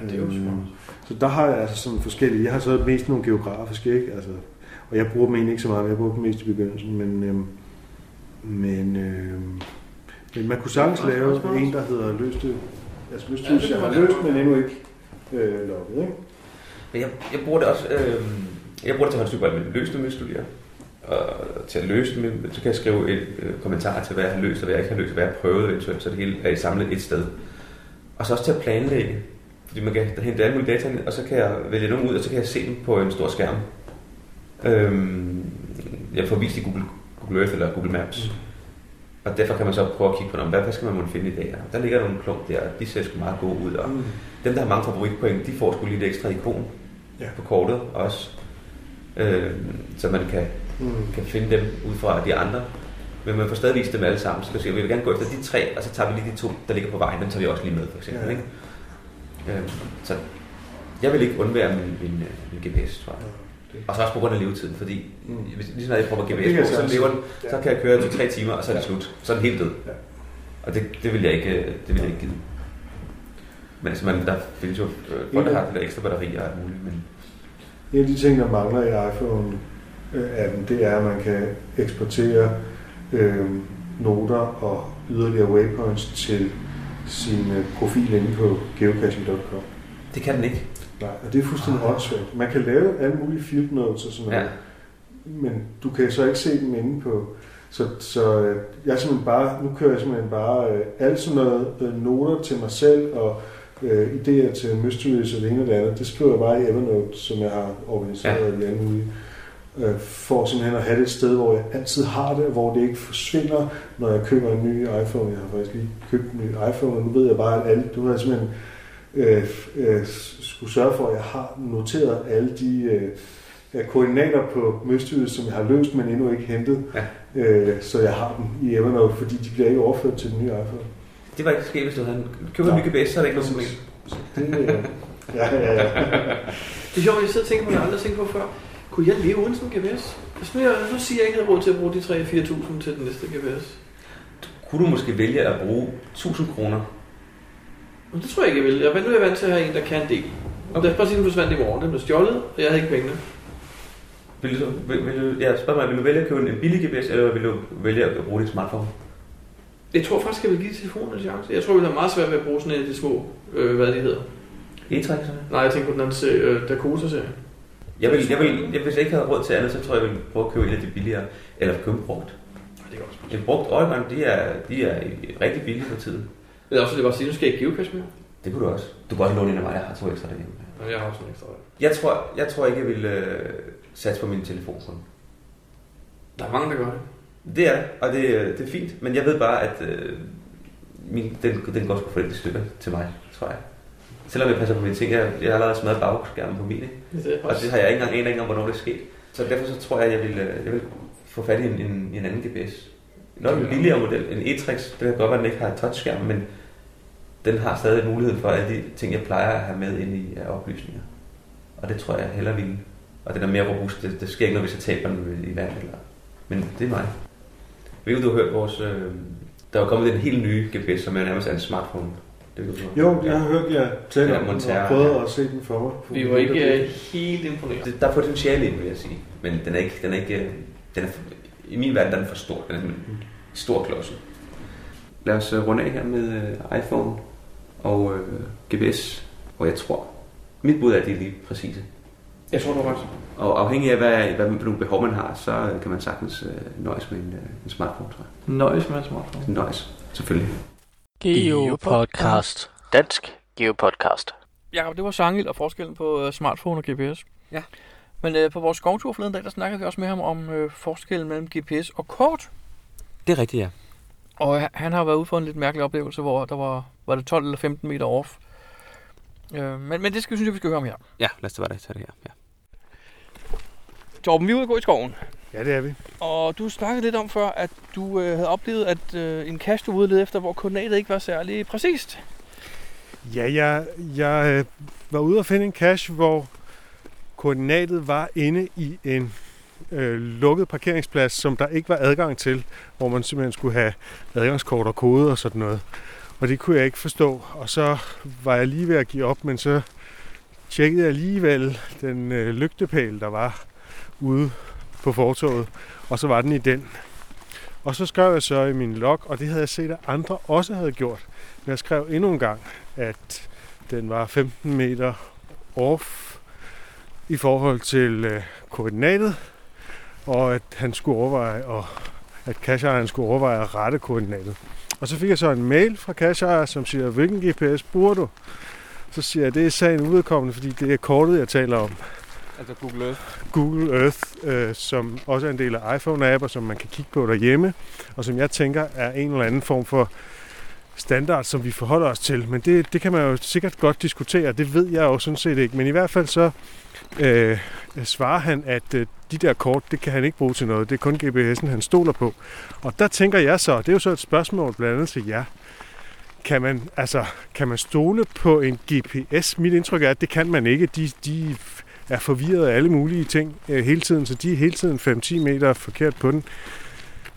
B: Ja, det er jo smart.
R: Så der har jeg altså sådan forskellige. Jeg har så mest nogle geografiske, ikke? Altså, og jeg bruger dem egentlig ikke så meget, men jeg bruger dem mest i begyndelsen. Men, øhm, men, øhm, men man kunne sagtens
B: Det er
R: lave
B: også smart.
R: en, der hedder løste. Altså løste,
B: Ja, det
R: ja,
B: kan
R: jeg har
B: man
R: løst,
B: lave.
R: men endnu ikke øh, lukket, ikke?
A: Men jeg, jeg bruger det også... Øh, jeg bruger det til håndstudie, men løsende med studier. Og til at løse dem, så kan jeg skrive en øh, kommentar til, hvad jeg har løst, og hvad jeg ikke har løst, og hvad jeg har prøvet eventuelt, så det hele er samlet et sted. Og så også til at planlægge, fordi man kan hente alle mulige data, og så kan jeg vælge nogle ud, og så kan jeg se dem på en stor skærm. Øhm, jeg får vist i Google, Google Earth eller Google Maps.
R: Mm.
A: Og derfor kan man så prøve at kigge på, "Nå, men hvad, hvad skal man måtte finde i dag? Og der ligger nogle klump der, og de ser sgu meget gode ud. Og
R: Mm.
A: dem, der har mange favoritpoint, de får sgu lige et ekstra ikon
R: Ja.
A: på kortet også. Øh, så man kan,
R: Mm.
A: kan finde dem ud fra de andre. Men man får stadig vist dem alle sammen. Så kan man sige, "Okay, vi vil gerne gå efter de tre, og så tager vi lige de to, der ligger på vejen. Dem tager vi også lige med, for eksempel. Ja.
R: Ja.
A: Ikke? Øh, så jeg vil ikke undvære min, min, øh, min GPS, tror jeg. Og så også på grund af levetiden, fordi
R: Mm.
A: hvis, lige så snart jeg prøver
R: Det kan jeg
A: GPS på, så
R: sagtens.
A: lever den,
R: Ja.
A: så kan jeg køre 2-3 timer, og så er det slut. Så er den helt død.
R: Ja.
A: Og det, det vil jeg ikke, øh, det vil jeg ikke give. Men altså, man, der findes jo øh, folk, der har lidt ekstra batterier og alt muligt, men
R: En af de ting, der mangler i iPhone øh, appen, det er, at man kan eksportere øh, noter og yderligere waypoints til sin øh, profil inde på geocaching.com.
A: det kan den ikke. Ah.
R: Nej, og det er fuldstændig åndssvagt. Man kan lave alle mulige field notes og sådan noget,
A: Ja.
R: men du kan så ikke se dem inde på. Så, så øh, jeg er simpelthen bare, nu kører jeg simpelthen bare øh, alle sådan noget øh, noter til mig selv og øh, idéer til mysteries og det ene og det andet. Det skriver jeg bare i Evernote, som jeg har organiseret ja. i alle mulige. Øh, for simpelthen at have det et sted, hvor jeg altid har det, hvor det ikke forsvinder, når jeg køber en ny iPhone. Jeg har faktisk lige købt en ny iPhone, og nu ved jeg bare, at alle, nu har jeg simpelthen øh, øh, skulle sørge for, at jeg har noteret alle de øh, øh, koordinater på Møstøet, som jeg har løst, men endnu ikke hentet, ja. øh, så jeg har dem i Evernote, fordi de bliver ikke overført til den nye iPhone.
A: Det var ikke sket, hvis du havde en, køber en ny GPS, så er det ikke noget problem.
R: Det, øh, ja, ja, ja.
B: Det er sjovt, at jeg sidder og tænker på, noget, jeg aldrig tænker på før. Kunne jeg leve uden sådan en GPS? Hvis Altså, nu, jeg, nu siger jeg ikke, at jeg havde råd til at bruge de 3-4.000 til den næste GPS.
A: Kunne du måske vælge at bruge 1000 kroner?
B: Men det tror jeg ikke, jeg ville. Jeg nu er jeg vant til at have en, der kan en del. Okay. Lad os bare sige, at den forsvandt i morgen. Den blev stjålet, og jeg havde ikke pengene.
A: Vil du, vil, vil du, ja, spørg mig, vil du vælge at købe en- en billig GPS, eller vil du vælge at bruge din smartphone?
B: Jeg tror faktisk, jeg vil give telefonen en chance. Jeg tror, vi har meget svært ved at bruge sådan en af de små, øh, hvad de hedder.
A: E-trækkerne?
B: Nej, jeg tænker på den anden serie, øh, Dakota-serie.
A: Jeg vil, jeg vil, jeg, hvis jeg ikke havde råd til andet, så tror jeg, jeg ville prøve at købe en af de billigere, eller købe brugt. En brugt Oregon, de er, de er rigtig billige for tiden.
B: Eller også, det bare sige, nu skal jeg give cash med.
A: Det kunne du også. Du kan også låne en af mig, jeg har to ekstra derhjemme.
B: Og jeg har også en ekstra.
A: Jeg tror, jeg tror ikke, jeg ville øh, satse på min telefon kun.
B: Der er mange, der gør det.
A: Det er det, og det, øh, det er fint, men jeg ved bare, at øh, min, den, den går sgu for lidt i stykker til mig, tror jeg. Selvom jeg passer på mine ting, jeg, jeg har allerede smadret bagskærmen på min,
B: Det
A: ikke?
B: er
A: og det har jeg ikke engang anet ikke om, hvornår det er sket. Så derfor så tror jeg, jeg vil, øh, jeg vil få fat i en, en, en anden GPS. Nok en billigere model, en E-Trix, det kan godt være, at den ikke har en touchskærm, men den har stadig mulighed for alle de ting, jeg plejer at have med ind i af oplysninger. Og det tror jeg hellere vil. Og den er mere robust, det, det sker ikke noget, hvis jeg taber den i vand. Eller... Men det er mig. Ved du, du har hørt vores... Øh, der er jo kommet den helt nye GPS, som er nærmest er en smartphone. Det ved du, godt.
R: Jo, jeg har hørt jer tale om den, og
A: Montera,
R: prøvet at se den for mig.
B: Vi var ikke øh, helt imponeret.
A: Det- Der er potentiale i den, vil jeg sige. Men den er ikke... Den er ikke øh, den er, for- I min verden der er den for stor. Den er sådan en stor klods. Lad os øh, runde af her med øh, iPhone og øh, GPS, hvor jeg tror... Mit bud er, at de er lige præcise.
B: Jeg tror, du har ret.
A: Og afhængig af, hvad, hvad for nogle behov man har, så øh, kan man sagtens øh, nøjes med en, øh, en smartphone, tror jeg.
B: Nøjes med en smartphone.
A: Nøjes, selvfølgelig.
C: Geopodcast. Dansk Geopodcast.
B: Jakob, det var Sangel og forskellen på øh, smartphone og GPS.
A: Ja.
B: Men øh, på vores skovtur forleden dag, der snakkede vi også med ham om øh, forskellen mellem GPS og kort.
A: Det er rigtigt, ja.
B: Og han- han har været ude for en lidt mærkelig oplevelse, hvor der var, var det 12 eller 15 meter off. Øh, men, men det skal, synes jeg, vi skal høre om her.
A: Ja, lad os da bare tage det her. Ja.
B: Torben, vi er ude at gå i skoven.
R: Ja, det er vi.
B: Og du snakkede lidt om før, at du øh, havde oplevet, at øh, en kast, du var ude at lede efter, hvor koordinatet ikke var særlig præcist.
R: Ja, jeg, jeg øh, var ude at finde en cache, hvor koordinatet var inde i en øh, lukket parkeringsplads, som der ikke var adgang til, hvor man simpelthen skulle have adgangskort og kode og sådan noget. Og det kunne jeg ikke forstå, og så var jeg lige ved at give op, men så tjekkede jeg alligevel den øh, lygtepæl, der var ude på fortoget, og så var den i den. Og så skrev jeg så i min log, og det havde jeg set, at andre også havde gjort. Men jeg skrev endnu en gang, at den var 15 meter off i forhold til øh, koordinatet, og at han skulle overveje, og at cashejeren skulle overveje at rette koordinatet. Og så fik jeg så en mail fra cashejer, som siger, hvilken GPS bruger du? Så siger jeg, det er sagen udkommende, fordi det er kortet, jeg taler om.
A: Altså Google Earth.
R: Google Earth, øh, som også er en del af iPhone-app, og som man kan kigge på derhjemme, og som jeg tænker er en eller anden form for standard, som vi forholder os til. Men det, det kan man jo sikkert godt diskutere, det ved jeg jo sådan set ikke. Men i hvert fald så øh, svarer han, at øh, de der kort, det kan han ikke bruge til noget. Det er kun GPS'en, han stoler på. Og der tænker jeg så, det er jo så et spørgsmål blandt andet til jer, kan man, altså, kan man stole på en GPS? Mit indtryk er, at det kan man ikke. De, de er forvirret af alle mulige ting øh, hele tiden, så de er hele tiden 5-10 meter forkert på den.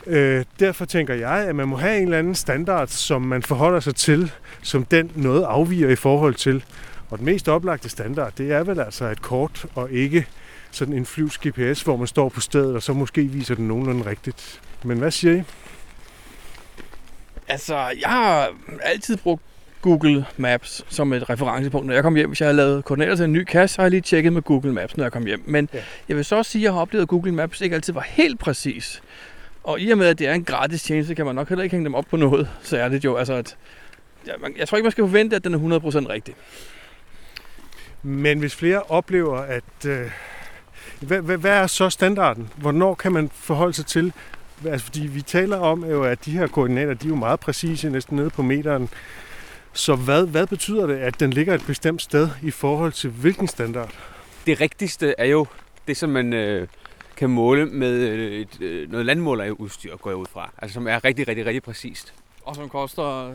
R: Øh, derfor tænker jeg, at man må have en eller anden standard, som man forholder sig til, som den noget afviger i forhold til. Og den mest oplagte standard, det er vel altså et kort og ikke sådan en flyvs GPS, hvor man står på stedet, og så måske viser den nogenlunde rigtigt. Men hvad siger I?
B: Altså, jeg har altid brugt Google Maps som et referencepunkt. Når jeg kom hjem, hvis jeg havde lavet koordinater til en ny kasse, så har jeg lige tjekket med Google Maps, når jeg kom hjem. Men ja. jeg vil så også sige, at jeg har oplevet, at Google Maps ikke altid var helt præcis. Og i og med, at det er en gratis tjeneste, kan man nok heller ikke hænge dem op på noget særligt jo. Altså, at, ja, man, jeg tror ikke, man skal forvente, at den er 100% rigtig.
R: Men hvis flere oplever, at... Øh, hvad, hvad, hvad er så standarden? Hvornår kan man forholde sig til? Altså, fordi vi taler om jo, at de her koordinater, de er jo meget præcise, næsten nede på meteren. Så hvad, hvad betyder det, at den ligger et bestemt sted i forhold til hvilken standard?
A: Det rigtigste er jo det, som man øh, kan måle med øh, et, øh, noget landmålerudstyr, går jeg ud fra. Altså som er rigtig, rigtig, rigtig præcist.
B: Og som koster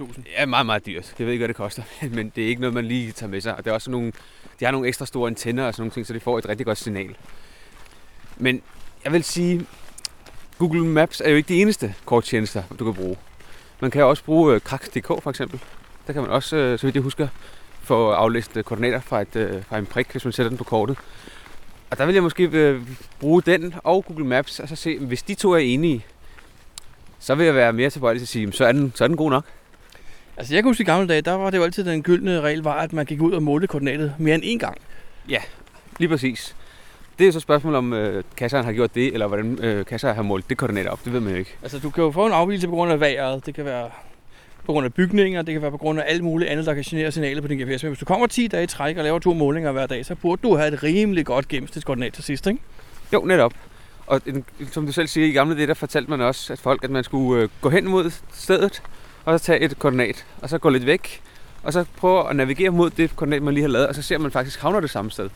B: 300-400.000.
A: Ja, meget, meget dyrt. Jeg ved ikke, hvad det koster, men det er ikke noget, man lige tager med sig. Og det er også nogle, de har nogle ekstra store antenner og sådan nogle ting, så de får et rigtig godt signal. Men jeg vil sige, Google Maps er jo ikke de eneste korttjenester, du kan bruge. Man kan også bruge øh, Kraks.dk for eksempel. Der kan man også, øh, så vidt jeg husker, få aflæst øh, koordinater fra, et, øh, fra en prik, hvis man sætter den på kortet. Og der vil jeg måske øh, bruge den og Google Maps, og så se, hvis de to er enige, så vil jeg være mere tilbøjelig til at sige, "Jamen, så er den, så er den god nok.
B: Altså, jeg kan huske i gamle dage, der var det jo altid den gyldne regel, var, at man gik ud og målte koordinatet mere end én gang.
A: Ja, lige præcis. Det er jo så et spørgsmål om, øh, kasseren har gjort det, eller hvordan øh, kasseren har målt det koordinat op. Det ved man jo ikke.
B: Altså, du kan jo få en afvielse på grund af vejret, det kan være på grund af bygninger, det kan være på grund af alt muligt andet, der kan genere signalet på din GPS. Men hvis du kommer 10 dage i træk og laver to målinger hver dag, så burde du have et rimelig godt gennemsnitskoordinat til sidst, ikke?
A: Jo, netop. Og en, som du selv siger, i gamle dage, der fortalte man også at folk, at man skulle øh, gå hen mod stedet, og så tage et koordinat, og så gå lidt væk, og så prøve at navigere mod det koordinat, man lige har lavet, og så ser man faktisk havner det samme sted.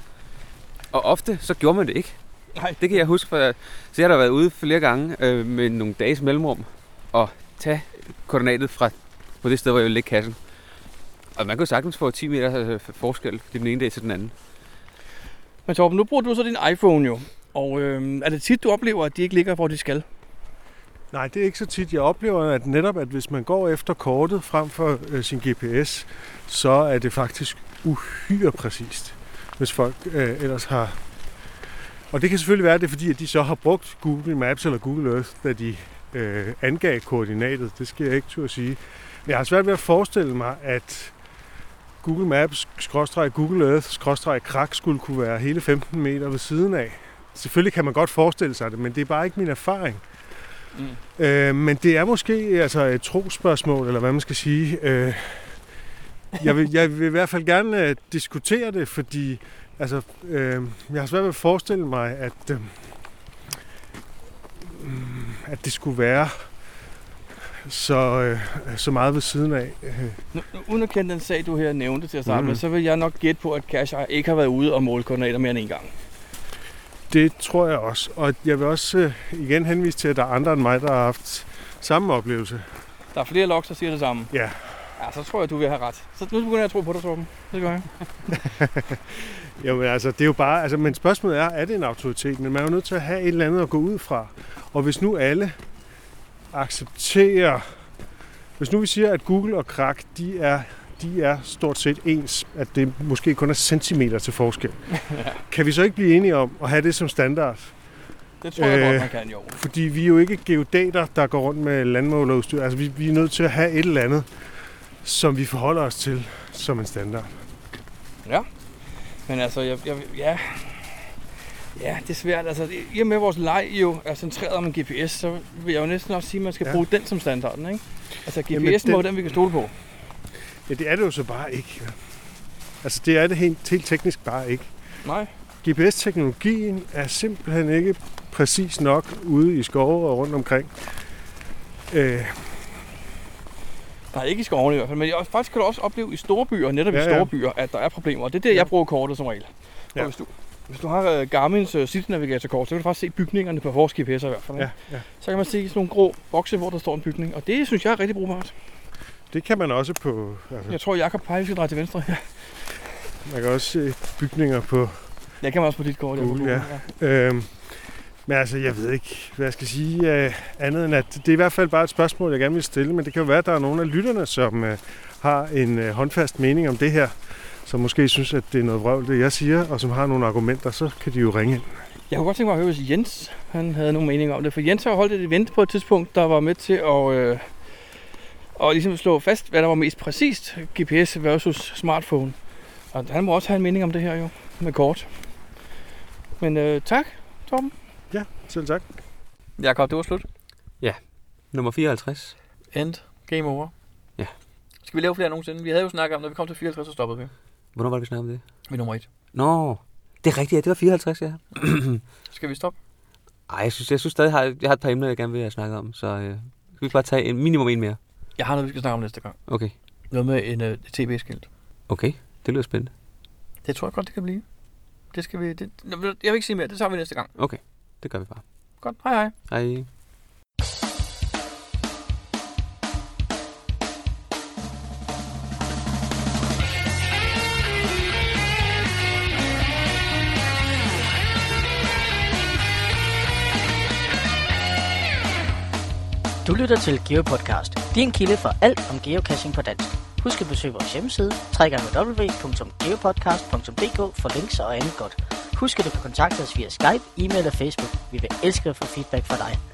A: Og ofte, så gjorde man det ikke.
B: Nej.
A: Det kan jeg huske, for så jeg har da været ude flere gange øh, med nogle dages mellemrum, og tage koordinatet fra på det sted, hvor jeg ville lægge kassen. Og man kunne sagtens få 10 meter øh, forskel fra den ene dag til den anden.
B: Men Torben, nu bruger du så din iPhone jo, og øhm, er det tit, du oplever, at de ikke ligger, hvor de skal?
R: Nej, det er ikke så tit. Jeg oplever at netop, at hvis man går efter kortet frem for øh, sin GPS, så er det faktisk uhyre præcist, hvis folk øh, ellers har... Og det kan selvfølgelig være, at det er fordi, at de så har brugt Google Maps eller Google Earth, da de øh, angav koordinatet. Det skal jeg ikke turde sige. Men jeg har svært ved at forestille mig, at Google Maps, skråstreg Google Earth, skråstreg krak skulle kunne være hele 15 meter ved siden af. Selvfølgelig kan man godt forestille sig det, men det er bare ikke min erfaring. Øh, men det er måske altså et trospørgsmål, eller hvad man skal sige. Øh, jeg, vil, jeg vil i hvert fald gerne øh, diskutere det, fordi altså, øh, jeg har svært ved at forestille mig, at, øh, mm, at det skulle være så, øh, så meget ved siden af. Øh,
B: Nu, nu, uden at kende den sag, du her nævnte til at starte mm.
R: Mhm.
B: med, så vil jeg nok gætte på, at Cash ikke har været ude og måle koordinater mere end en gang.
R: Det tror jeg også. Og jeg vil også øh, igen henvise til, at der er andre end mig, der har haft samme oplevelse.
B: Der er flere logs, der siger det samme.
R: Ja.
B: Ja, så tror jeg, du vil have ret. Så nu begynder jeg at tro på dig, Torben. Det gør jeg.
R: Jamen altså, det er jo bare... Altså, men spørgsmålet er, er det en autoritet? Men man er jo nødt til at have et eller andet at gå ud fra. Og hvis nu alle accepterer... Hvis nu vi siger, at Google og Krak, de er, de er stort set ens, at det måske kun er centimeter til forskel, kan vi så ikke blive enige om at have det som standard?
B: Det tror
R: Øh.
B: jeg godt, man kan, jo.
R: Fordi vi er jo ikke geodater, der går rundt med landmålerudstyr. Altså, vi, vi er nødt til at have et eller andet, som vi forholder os til som en standard.
B: Ja. Men altså, jeg, jeg, ja. Ja, det er svært. Altså, i og med at vores leg jo er centreret om en GPS, så vil jeg jo næsten også sige, at man skal
R: Ja.
B: ja. bruge den som standarden, ikke? Altså, GPS'en
R: Jamen,
B: den... må
R: den-
B: den, vi kan stole på.
R: Ja, det er det jo så bare ikke. Altså, det er det helt, helt teknisk bare ikke.
B: Nej.
R: GPS-teknologien er simpelthen ikke præcis nok ude i skove og rundt omkring. Øh,
B: Nej, ikke i skovene i hvert fald, men jeg, faktisk kan du også opleve i store byer, netop ja,
R: Ja,
B: i
R: ja.
B: store byer, at der er problemer. Og det er der, jeg bruger kortet som regel. Ja. Og hvis du, hvis du har uh, Garmin's uh, City-navigator-kort, så kan du faktisk se bygningerne på vores GPS'er i hvert fald. ikke?
R: ja.
B: Så kan man se sådan nogle grå bokse, hvor der står en bygning, og det synes jeg er rigtig brugbart.
R: det kan man også på... Altså,
B: Jeg tror, Jacob peger, vi skal dreje til venstre.
R: Man kan også se bygninger på
B: Jeg kan også på dit kort. jeg er på
R: Google,
B: Google,
R: ja. Øhm, men altså, jeg ved ikke, hvad jeg skal sige øh, andet end, at det er i hvert fald bare et spørgsmål, jeg gerne vil stille, men det kan jo være, at der er nogle af lytterne, som øh, har en øh, håndfast mening om det her, som måske synes, at det er noget vrøvl, det jeg siger, og som har nogle argumenter, så kan de jo ringe ind.
B: Jeg kunne godt tænke mig at høre, hvis Jens han havde nogle meninger om det. For Jens har jo holdt et event på et tidspunkt, der var med til at, øh, at ligesom slå fast, hvad der var mest præcist. GPS versus smartphone. Og han må også have en mening om det her jo, med kort. Men øh, tak, Torben.
R: Ja, selv tak.
B: Jakob, det var slut.
A: Ja, nummer 54.
B: End. Game over.
A: Ja.
B: Skal vi lave flere nogensinde? Vi havde jo snakket om, når vi kom til 54, så stoppede vi.
A: Hvornår var det, vi snakkede om det?
B: Ved nummer 1.
A: Nå, det er rigtigt, ja. Det var 54, ja.
B: Skal vi stoppe?
A: Ej, jeg synes, jeg synes stadig, jeg har, jeg har et par emner, jeg gerne vil have snakket om, så øh, skal vi bare tage en, minimum en mere.
B: Jeg har noget, vi skal snakke om næste gang.
A: Okay,
B: Noget med en uh, TB-skilt.
A: okay. Det lyder spændende.
B: Det tror jeg godt, det kan blive. Det skal vi... Det, jeg vil ikke sige mere. Det tager vi næste gang.
A: Okay, det gør vi bare.
B: Godt. Hej hej.
A: Hej.
S: Du lytter til GeoPodcast, din kilde for alt om geocaching på dansk. Husk at besøge vores hjemmeside, www.geopodcast.dk for links og andet godt. Husk at du kan kontakte os via Skype, e-mail og Facebook. Vi vil elske at få feedback fra dig.